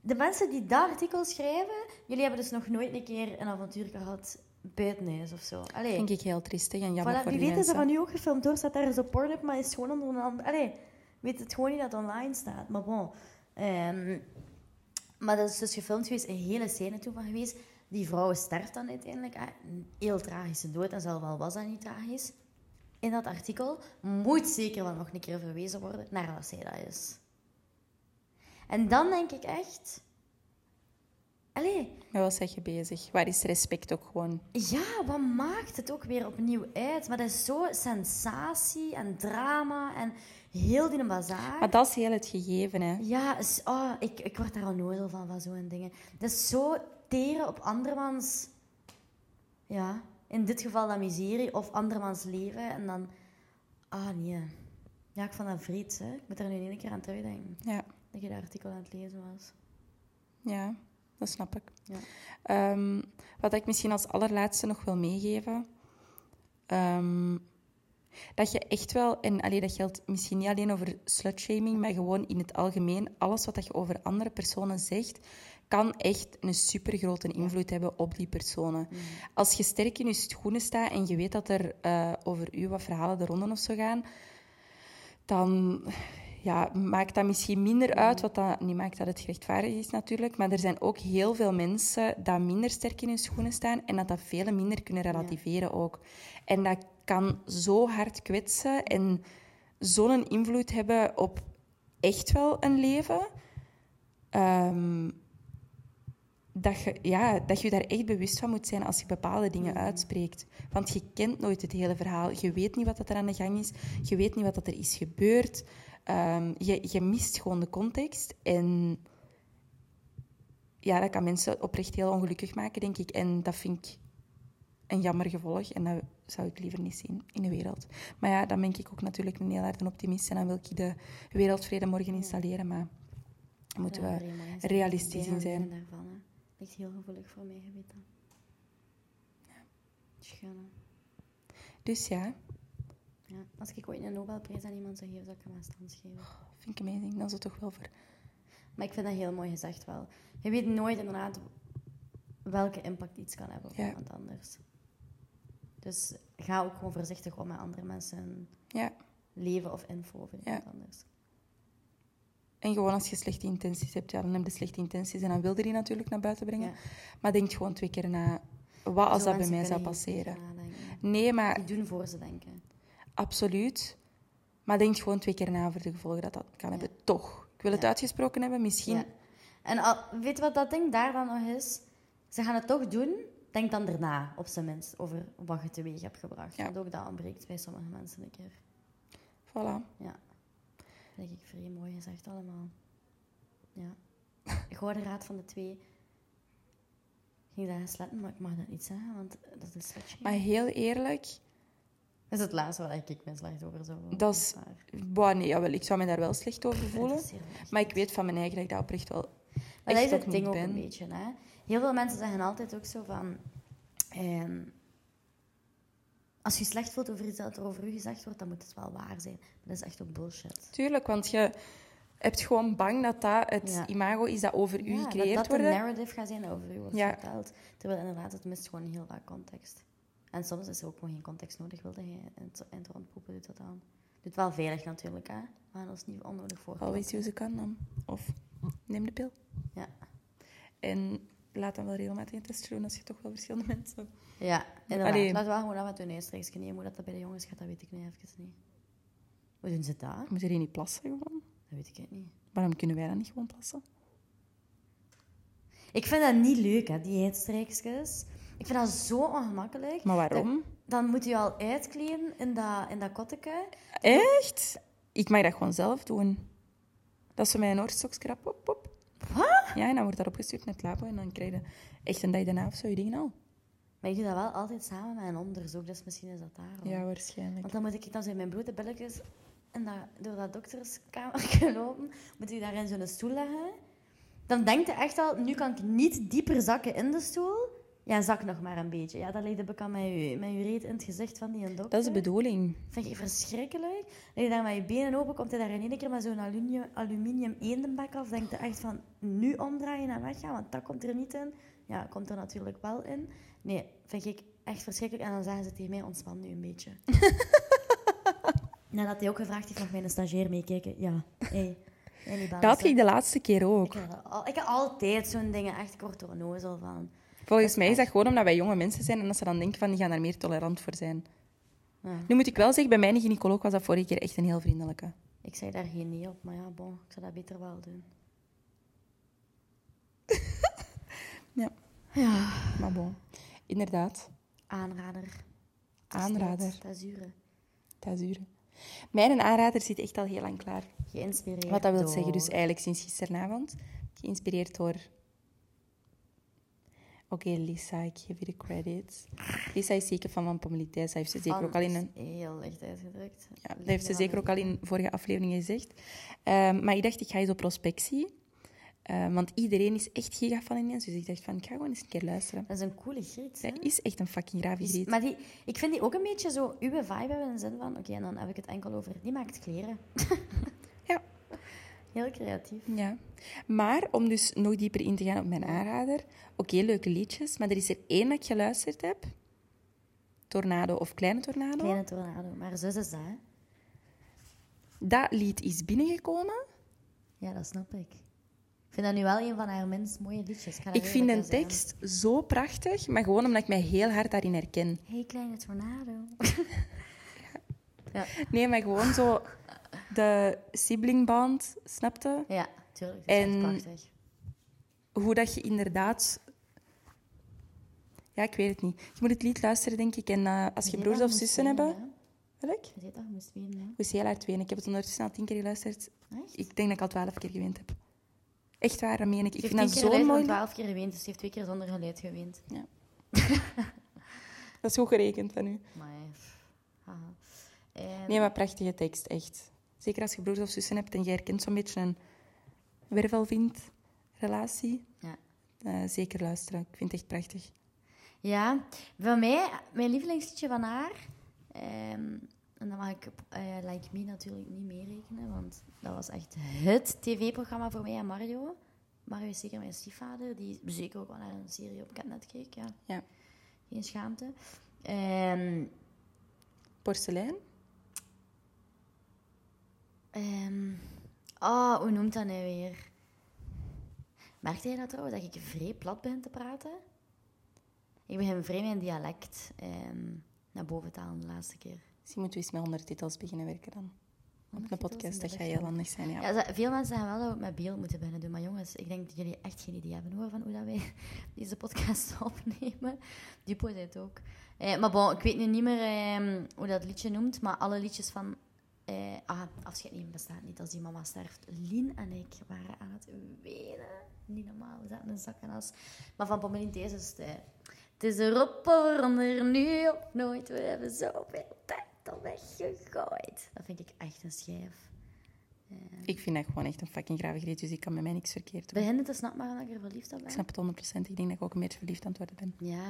Speaker 2: De mensen die dat artikel schrijven, jullie hebben dus nog nooit een keer een avontuur gehad buiten huis of zo. Allee.
Speaker 1: Vind ik heel triestig en jammer
Speaker 2: Eh. Voilà,
Speaker 1: voor
Speaker 2: wie
Speaker 1: die
Speaker 2: weet is er van
Speaker 1: mensen.
Speaker 2: nu ook gefilmd door, staat daar zo Pornhub, maar is gewoon onder een ander... Allee, weet het gewoon niet dat het online staat, maar bon. Ehm, maar dat is dus gefilmd geweest, een hele scène toen van geweest. Die vrouw sterft dan uiteindelijk. ah, Een heel tragische dood, en zelf al was dat niet tragisch. In dat artikel moet zeker wel nog een keer verwezen worden naar wat zij dat is. En dan denk ik echt... Allee,
Speaker 1: Met wat zeg je bezig? Waar is respect ook gewoon?
Speaker 2: Ah. ja, wat maakt het ook weer opnieuw uit? Maar dat is zo sensatie en drama en heel die bazaar.
Speaker 1: Maar dat is heel het gegeven, hè.
Speaker 2: Ja, is- oh, ik, ik word daar al nozel van, van zo'n dingen. Dat is zo teren op andermans... Ja, in dit geval dan miserie of andermans leven. En dan... Ah, nee. Ja, ik vond dat vreed, hè. Ik moet daar nu in één keer aan terugdenken.
Speaker 1: Ja,
Speaker 2: Dat je dat artikel aan het lezen was.
Speaker 1: ja dat snap ik.
Speaker 2: Ja.
Speaker 1: Ehm, wat ik misschien als allerlaatste nog wil meegeven. ehm, dat je echt wel, en allee, dat geldt misschien niet alleen over slutshaming, maar gewoon in het algemeen, alles wat dat je over andere personen zegt, kan echt een supergrote invloed hebben op die personen. Als je sterk in je schoenen staat en je weet dat er eh, over u wat verhalen de ronden of zo gaan, dan ja, maakt dat misschien minder uit. Wat dat niet maakt dat het gerechtvaardigd is natuurlijk. Maar er zijn ook heel veel mensen die minder sterk in hun schoenen staan. En dat dat veel minder kunnen relativeren ook. En dat kan zo hard kwetsen en zo'n invloed hebben op echt wel een leven. Ehm, dat je, ja, dat je daar echt bewust van moet zijn als je bepaalde dingen uitspreekt. Want je kent nooit het hele verhaal. Je weet niet wat dat er aan de gang is. Je weet niet wat dat er is gebeurd. Ehm, je, je mist gewoon de context. En ja, dat kan mensen oprecht heel ongelukkig maken, denk ik. En dat vind ik een jammer gevolg. En dat zou ik liever niet zien in de wereld. Maar ja, dan ben ik ook natuurlijk een heel hard een optimist. En dan wil ik de wereldvrede morgen installeren. Maar daar moeten
Speaker 2: Ja,
Speaker 1: we
Speaker 2: Rema is
Speaker 1: realistisch in
Speaker 2: bijna
Speaker 1: zijn.
Speaker 2: fan Daarvan, hè. Ligt heel gevoelig voor mij, je weet dat. Schande.
Speaker 1: Dus ja,
Speaker 2: Ja. Als ik ooit een Nobelprijs aan iemand zou geven, zou ik hem aan Stans geven.
Speaker 1: vind ik amazing. Dan is het toch wel voor
Speaker 2: Maar ik vind dat heel mooi gezegd wel. Je weet nooit inderdaad welke impact iets kan hebben op
Speaker 1: Ja.
Speaker 2: iemand anders. Dus ga ook gewoon voorzichtig om met andere mensen hun
Speaker 1: Ja,
Speaker 2: leven of info over
Speaker 1: Ja.
Speaker 2: iemand anders.
Speaker 1: en gewoon als je slechte intenties hebt, ja, dan heb je slechte intenties en dan wil je die natuurlijk naar buiten brengen.
Speaker 2: Ja.
Speaker 1: Maar denk gewoon twee keer na, wat als
Speaker 2: Zo
Speaker 1: dat bij
Speaker 2: mensen
Speaker 1: mij zou
Speaker 2: kunnen hier
Speaker 1: passeren?
Speaker 2: niet over nadenken.
Speaker 1: Nee, maar
Speaker 2: Die doen voor ze denken.
Speaker 1: absoluut. Maar denk gewoon twee keer na over de gevolgen dat dat kan hebben. Toch. Ik wil het
Speaker 2: Ja.
Speaker 1: uitgesproken hebben, misschien.
Speaker 2: Ja. En al, weet je wat dat ding daar dan nog is? Ze gaan het toch doen. Denk dan daarna, op zijn minst, over wat je teweeg hebt gebracht.
Speaker 1: Ja.
Speaker 2: Want ook dat ontbreekt bij sommige mensen een keer.
Speaker 1: Voilà.
Speaker 2: Ja. Dat denk ik vrij mooi gezegd allemaal. Ja. Ik hoor de raad van de twee. Ik ging daar sletten, maar ik mag dat niet zeggen, want dat is wat je...
Speaker 1: Maar heel eerlijk,
Speaker 2: Dat is het laatste waar ik me slecht over zou voelen.
Speaker 1: Dat is-
Speaker 2: waar.
Speaker 1: Bah, nee, jawel, ik zou me daar wel slecht over
Speaker 2: Dat
Speaker 1: voelen.
Speaker 2: is heel erg.
Speaker 1: Maar ik weet van mijn eigen dat ik dat oprecht wel
Speaker 2: Maar dat is
Speaker 1: echt
Speaker 2: het
Speaker 1: ook
Speaker 2: ding
Speaker 1: niet
Speaker 2: ook
Speaker 1: ben.
Speaker 2: een beetje. Hè? Heel veel mensen zeggen altijd ook zo van... ehm, als je slecht voelt over iets dat er over u gezegd wordt, dan moet het wel waar zijn. Maar dat is echt ook bullshit.
Speaker 1: Tuurlijk, want je hebt gewoon bang dat dat het
Speaker 2: Ja.
Speaker 1: imago is dat over u
Speaker 2: Ja,
Speaker 1: gecreëerd
Speaker 2: dat dat
Speaker 1: wordt.
Speaker 2: een narrative gaat zijn dat over u wordt
Speaker 1: Ja.
Speaker 2: verteld. Terwijl inderdaad, het mist gewoon heel vaak context. En soms is er ook gewoon geen context nodig. Wilde je in het- in het rondpoepen, doet dat dan. Doet wel veilig natuurlijk, hè. Maar dat is niet onnodig voor.
Speaker 1: Always use a condom. Of neem de pil.
Speaker 2: Ja.
Speaker 1: En laat dan wel regelmatig een test doen als je toch wel verschillende mensen...
Speaker 2: Ja, inderdaad.
Speaker 1: Allee.
Speaker 2: Laat wel gewoon af en toe een neusstreekje nemen. Hoe dat, dat bij de jongens gaat, dat weet ik nu even niet. Hoe doen ze dat?
Speaker 1: Moet je die niet plassen gewoon?
Speaker 2: Dat weet ik echt niet.
Speaker 1: Waarom kunnen wij dat niet gewoon plassen?
Speaker 2: Ik vind dat niet leuk, hè, die eetstrijkjes. Ik vind dat zo ongemakkelijk.
Speaker 1: Maar waarom?
Speaker 2: Dan, dan moet je al uitkleden in dat, in dat kotteke.
Speaker 1: Echt? Ik mag dat gewoon zelf doen. Dat ze mij een oorstokskrap op, op.
Speaker 2: Wat?
Speaker 1: Ja, en dan wordt dat opgestuurd met labo. En dan krijg je echt een dag daarna of zo je dingen al.
Speaker 2: Maar ik doe dat wel altijd samen met een onderzoek, dus misschien is dat daarom.
Speaker 1: Ja, waarschijnlijk.
Speaker 2: Want dan moet ik dan zo in mijn blote billetjes en dat, door dat dokterskamer lopen, moet ik daar in zo'n stoel leggen. Dan denkt je echt al, nu kan ik niet dieper zakken in de stoel. Ja, zak nog maar een beetje. Ja, dat ligt de bekant met je, met je reet in het gezicht van die dokter.
Speaker 1: Dat is de bedoeling.
Speaker 2: Vind je verschrikkelijk? Lig je daar met je benen open, komt hij daar in één keer met zo'n aluminium, aluminium eendenbak af. Denk je echt van, nu omdraaien en weggaan, want dat komt er niet in. Ja, komt er natuurlijk wel in. Nee, vind ik echt verschrikkelijk. En dan zeggen ze tegen mij, ontspan nu een beetje. Nadat hij ook gevraagd heeft, mag mijn stagiair meekijken. Ja, hey. hey die baas,
Speaker 1: Dat had
Speaker 2: hè.
Speaker 1: ik de laatste keer
Speaker 2: ik
Speaker 1: ook.
Speaker 2: heb, er al, ik heb altijd zo'n dingen, echt kort onnozel van.
Speaker 1: Volgens mij is dat gewoon omdat wij jonge mensen zijn en dat ze dan denken van die gaan daar meer tolerant voor zijn.
Speaker 2: Ja.
Speaker 1: Nu moet ik wel zeggen, bij mijn gynaecoloog was dat vorige keer echt een heel vriendelijke.
Speaker 2: Ik zei daar geen nee op, maar ja, bon, ik zou dat beter wel doen.
Speaker 1: Ja,
Speaker 2: Ja.
Speaker 1: maar bon. Inderdaad,
Speaker 2: Aanrader.
Speaker 1: aanrader,
Speaker 2: Dat is zure.
Speaker 1: tazuren. Mijn aanrader zit echt al heel lang klaar.
Speaker 2: Geïnspireerd
Speaker 1: Wat dat wil
Speaker 2: door-
Speaker 1: zeggen, dus eigenlijk sinds gisteravond, geïnspireerd door... Oké, Lisa, ik geef je de credits. Lisa is zeker van van Pommelitijs. Dat heeft ze zeker ook al in een
Speaker 2: Anders Heel licht uitgedrukt.
Speaker 1: Ja, dat heeft ze zeker ook al in vorige afleveringen gezegd. Ehm, maar ik dacht, ik ga eens op prospectie. Ehm, want iedereen is echt giga van ineens. Dus ik dacht van, ik ga gewoon eens een keer luisteren.
Speaker 2: Dat is een coole giet.
Speaker 1: Zij is echt een fucking grave griet.
Speaker 2: Maar die, ik vind die ook een beetje zo uw vibe hebben in de zin van... Oké, en dan heb ik het enkel over... Die maakt kleren.
Speaker 1: Ja.
Speaker 2: Heel creatief.
Speaker 1: ja. Maar om dus nog dieper in te gaan op mijn aanrader. Oké, leuke liedjes. Maar er is er één dat ik geluisterd heb. Tornado of Kleine Tornado.
Speaker 2: Kleine tornado. Maar zus is dat, hè?
Speaker 1: Dat lied is binnengekomen.
Speaker 2: Ja, dat snap ik. Ik vind dat nu wel een van haar minst mooie liedjes. ga dat
Speaker 1: Ik vind de
Speaker 2: eerlijk zeggen.
Speaker 1: tekst zo prachtig. Maar gewoon omdat ik mij heel hard daarin herken.
Speaker 2: Hey, kleine tornado. ja.
Speaker 1: Nee, maar gewoon zo de siblingband, snapte?
Speaker 2: ja, tuurlijk. Dat is echt
Speaker 1: En-
Speaker 2: prachtig.
Speaker 1: Hoe dat je inderdaad... Ja, ik weet het niet. Je moet het lied luisteren, denk ik. En eh, als je
Speaker 2: Zeta
Speaker 1: broers of
Speaker 2: moest
Speaker 1: zussen
Speaker 2: winnen,
Speaker 1: hebben... Welk?
Speaker 2: hè. Zeta moest winnen, hè.
Speaker 1: Ik moest heel hard wenen. Ik heb het ondertussen al tien keer geluisterd.
Speaker 2: Echt?
Speaker 1: Ik denk dat ik al twaalf keer gewend heb. Echt waar, dat meen ik. Ik
Speaker 2: Ze
Speaker 1: vind
Speaker 2: heeft
Speaker 1: dat
Speaker 2: tien keer
Speaker 1: zo'n
Speaker 2: geluid
Speaker 1: mooi...
Speaker 2: en twaalf keer gewend, dus ze heeft twee keer zonder geluid gewend.
Speaker 1: lied. Ja. dat is goed gerekend van u.
Speaker 2: Maar, pff, haha. En-
Speaker 1: Nee, maar prachtige tekst, echt. Zeker als je broers of zussen hebt en jij herkent zo'n beetje een wervelwind-relatie.
Speaker 2: ja.
Speaker 1: Eh, zeker luisteren. Ik vind het echt prachtig.
Speaker 2: ja, van mij, mijn lievelingsliedje van haar, ehm, en dan mag ik eh, Like Me natuurlijk niet meerekenen, want dat was echt HET tv-programma voor mij en Mario. Mario is zeker mijn stiefvader, die zeker ook wel naar een serie op Catnet keek, ja.
Speaker 1: Ja.
Speaker 2: Geen schaamte. Ehm,
Speaker 1: Porselein?
Speaker 2: Ehm, ah, hoe noemt dat nou weer? Merkte jij dat trouwens, dat ik vrij plat begin te praten? Ik begin vrij mijn dialect ehm, naar boven te halen de laatste keer.
Speaker 1: Misschien moeten we eens met ondertitels beginnen werken dan. Op een
Speaker 2: Ondertitels,
Speaker 1: podcast, dat
Speaker 2: inderdaad,
Speaker 1: gaat heel handig zijn, ja.
Speaker 2: Ja, ze- veel mensen zeggen wel dat we het met beeld moeten beginnen doen. Maar jongens, ik denk dat jullie echt geen idee hebben hoor, van hoe dat wij deze podcast opnemen. Dupo zei het ook. Eh, maar bon, ik weet nu niet meer ehm, hoe dat liedje noemt. Maar alle liedjes van... eh, ah, afscheid nemen bestaat niet als die mama sterft. Lien en ik waren aan het wenen. Niet normaal, we zaten in zak en as. Maar van Pommelien deze is het... eh, het is erop voor onder nu of nooit. We hebben zoveel tijd al weggegooid. Dat vind ik echt een schijf.
Speaker 1: Ik vind dat gewoon echt een fucking gravigree, dus ik kan met mij niks verkeerd doen.
Speaker 2: Beginnen te snappen waarom ik er verliefd op
Speaker 1: Ik
Speaker 2: ben.
Speaker 1: snap het 100%. Ik denk dat ik ook een beetje verliefd aan het worden ben.
Speaker 2: Ja,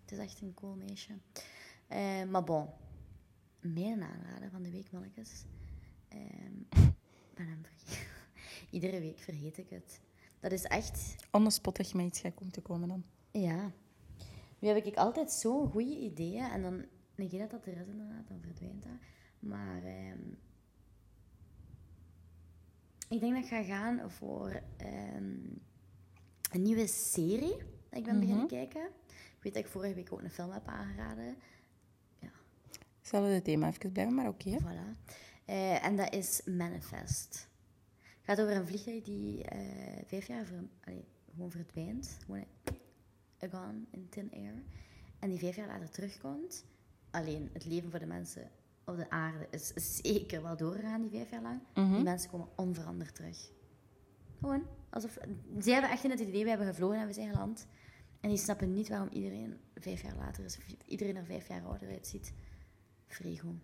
Speaker 2: het is echt een cool meisje. Eh, maar bon, meer een aanrader van de week, mannetjes. Ehm, ik ben hem vergeten. Iedere week vergeet ik het. Dat is echt
Speaker 1: On the spot dat je met iets gaat komen te komen dan.
Speaker 2: Ja. Nu heb ik altijd zo'n goede ideeën en dan negeer dat dat er is inderdaad, dan verdwijnt dat. Maar ehm, ik denk dat ik ga gaan voor ehm, een nieuwe serie dat ik ben beginnen kijken. Ik weet dat ik vorige week ook een film heb aangeraden.
Speaker 1: Zullen we het thema even blijven, maar oké. hè?
Speaker 2: Voilà. Eh, en dat is Manifest. Het gaat over een vliegtuig die eh, vijf jaar ver, allee, gewoon verdwijnt. Gewoon eh, gone in thin air. En die vijf jaar later terugkomt. Alleen het leven voor de mensen op de aarde is zeker wel doorgegaan die vijf jaar lang. Die mensen komen onveranderd terug. Gewoon. Alsof, zij hebben echt in het idee, we hebben gevlogen en we zijn geland. En die snappen niet waarom iedereen vijf jaar later is. Of iedereen er vijf jaar ouder uitziet. Vrego.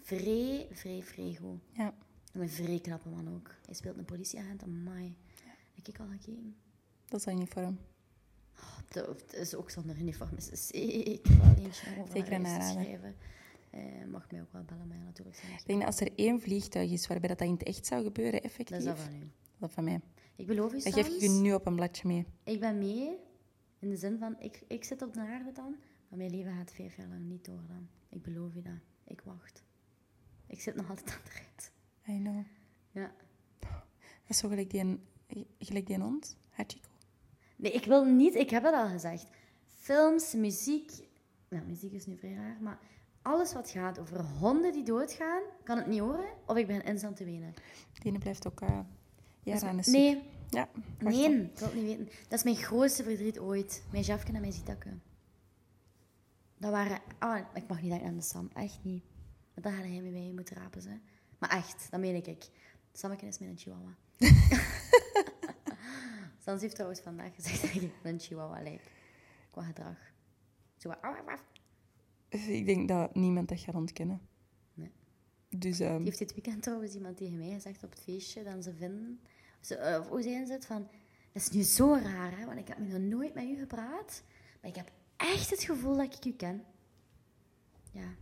Speaker 2: Vree, vree, vrego.
Speaker 1: Ja.
Speaker 2: En een vree knappe man ook. Hij speelt een politieagent. Amai. Heb ik al gekeken?
Speaker 1: Dat is al niet voor hem.
Speaker 2: Oh, dat- Het is ook zonder uniform. Is het zeker wel eentje om over naar
Speaker 1: Zeker een
Speaker 2: huis te
Speaker 1: aanrader.
Speaker 2: schrijven. Eh, mag mij ook wel bellen, maar ja, natuurlijk. zijn
Speaker 1: Ik denk dat als er één vliegtuig is waarbij dat, dat in het echt zou gebeuren, effectief.
Speaker 2: Dat is dat van u.
Speaker 1: dat is van mij.
Speaker 2: Ik beloof u,
Speaker 1: Dat geef ik je
Speaker 2: Sans,
Speaker 1: nu op een bladje mee.
Speaker 2: Ik ben mee. In de zin van, ik, ik zit op de aarde dan. Maar mijn leven gaat vijf jaar lang niet door dan. Ik beloof u dat. Ik wacht. Ik zit nog altijd aan de rit.
Speaker 1: I know.
Speaker 2: Ja.
Speaker 1: Dat is zo gelijk die, een- gelijk die een hond, Hachiko.
Speaker 2: Nee, ik wil niet. Ik heb het al gezegd. Films, muziek. Nou, muziek is nu vrij raar, maar alles wat gaat over honden die doodgaan, kan het niet horen of ik ben instant te wenen.
Speaker 1: Die ene blijft ook eh jaren aan de ziek.
Speaker 2: Nee,
Speaker 1: Ja, wacht
Speaker 2: nee,
Speaker 1: dan.
Speaker 2: ik wil het niet weten. Dat is mijn grootste verdriet ooit. Mijn Jafke en mijn Zitakke. Dat waren. Ah, ik mag niet denken aan de Sam, echt niet. Want daar hadden hij mee mee moeten rapen ze. Maar echt, dat meen ik. Sammeken is mijn chihuahua. Sans heeft trouwens vandaag gezegd dat ik op een chihuahua lijk. Qua gedrag. Zo wat, auw, auw, auw.
Speaker 1: Eh, Ik denk dat niemand dat gaat ontkennen.
Speaker 2: Nee.
Speaker 1: Dus ehm,
Speaker 2: Die heeft dit weekend trouwens iemand tegen mij gezegd op het feestje dat ze vinden. Ze, eh, of hoe zijn ze het van? Dat is nu zo raar, hè? Want ik heb nu nog nooit met u gepraat. Maar ik heb echt het gevoel dat ik u ken. Ja,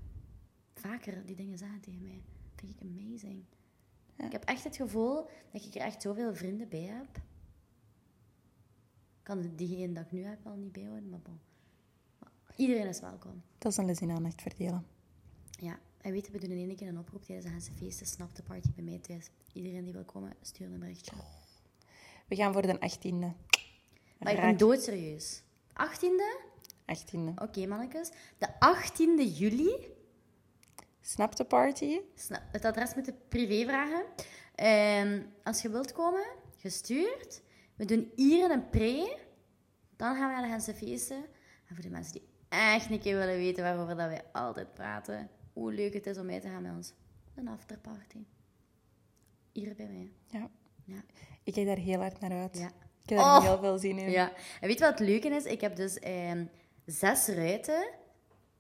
Speaker 2: vaker die dingen zeggen tegen mij. Vind ik amazing.
Speaker 1: Ja.
Speaker 2: Ik heb echt het gevoel dat ik er echt zoveel vrienden bij heb. Ik kan diegene dat ik nu heb wel niet bijhouden, maar bon. Maar iedereen is welkom.
Speaker 1: dat is een les in aandacht verdelen.
Speaker 2: Ja, en weet je, we doen in één keer een oproep tijdens de Hense feesten. Snap de party bij mij thuis. Iedereen die wil komen, stuur een berichtje.
Speaker 1: We gaan voor de 18e.
Speaker 2: maar ik ben
Speaker 1: Raak.
Speaker 2: doodserieus. 18e?
Speaker 1: 18e.
Speaker 2: Oké, mannetjes. De 18e juli.
Speaker 1: Snap de party?
Speaker 2: Snap, het adres moet je privé vragen. Ehm, als je wilt komen, gestuurd. We doen hier een pre. Dan gaan we naar de Hense feesten. En voor de mensen die echt een keer willen weten waarover dat wij altijd praten. Hoe leuk het is om mee te gaan met ons. Een afterparty. Hier bij mij.
Speaker 1: Ja.
Speaker 2: Ja.
Speaker 1: Ik kijk daar heel hard naar uit.
Speaker 2: Ja.
Speaker 1: Ik heb daar
Speaker 2: Oh.
Speaker 1: heel veel zin in.
Speaker 2: Ja, en weet je wat het leuke is? Ik heb dus ehm, zes ruiten.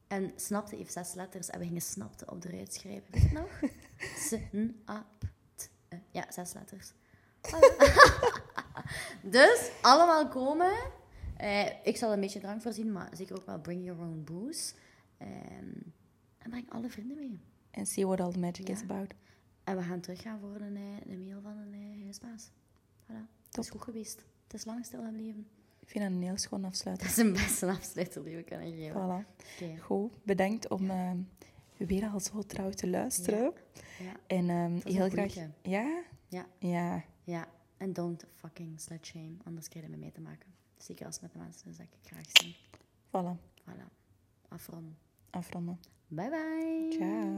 Speaker 2: En snapte heeft zes letters. En we gingen snapte op de ruit schrijven. Weet je het nog? S-N-A-P-T. e. Ja, zes letters. Voilà. dus, allemaal komen. Eh, ik zal een beetje drank voorzien, maar zeker ook wel bring your own booze. Ehm, en breng alle vrienden mee.
Speaker 1: En see what all the magic is
Speaker 2: Ja.
Speaker 1: about.
Speaker 2: En we gaan teruggaan voor een, eh, een mail van een eh, huisbaas. Voilà. Dat is goed geweest. Het is lang stil gebleven.
Speaker 1: Ik vind dat een heel schoon afsluiten.
Speaker 2: Dat is een beste afsluiter die we kunnen geven.
Speaker 1: Voilà.
Speaker 2: Oké.
Speaker 1: Goed, bedankt om eh, weer al zo trouw te luisteren.
Speaker 2: Ja.
Speaker 1: En ehm,
Speaker 2: is
Speaker 1: heel
Speaker 2: een
Speaker 1: graag...
Speaker 2: goeie.
Speaker 1: Ja?
Speaker 2: Ja.
Speaker 1: Ja.
Speaker 2: Ja. En don't fucking slut shame. Anders krijg je er mee te maken. Zeker als het met de mensen is dat ik graag zie.
Speaker 1: Voilà.
Speaker 2: Voilà. Afronden.
Speaker 1: Afronden.
Speaker 2: Bye bye.
Speaker 1: Ciao.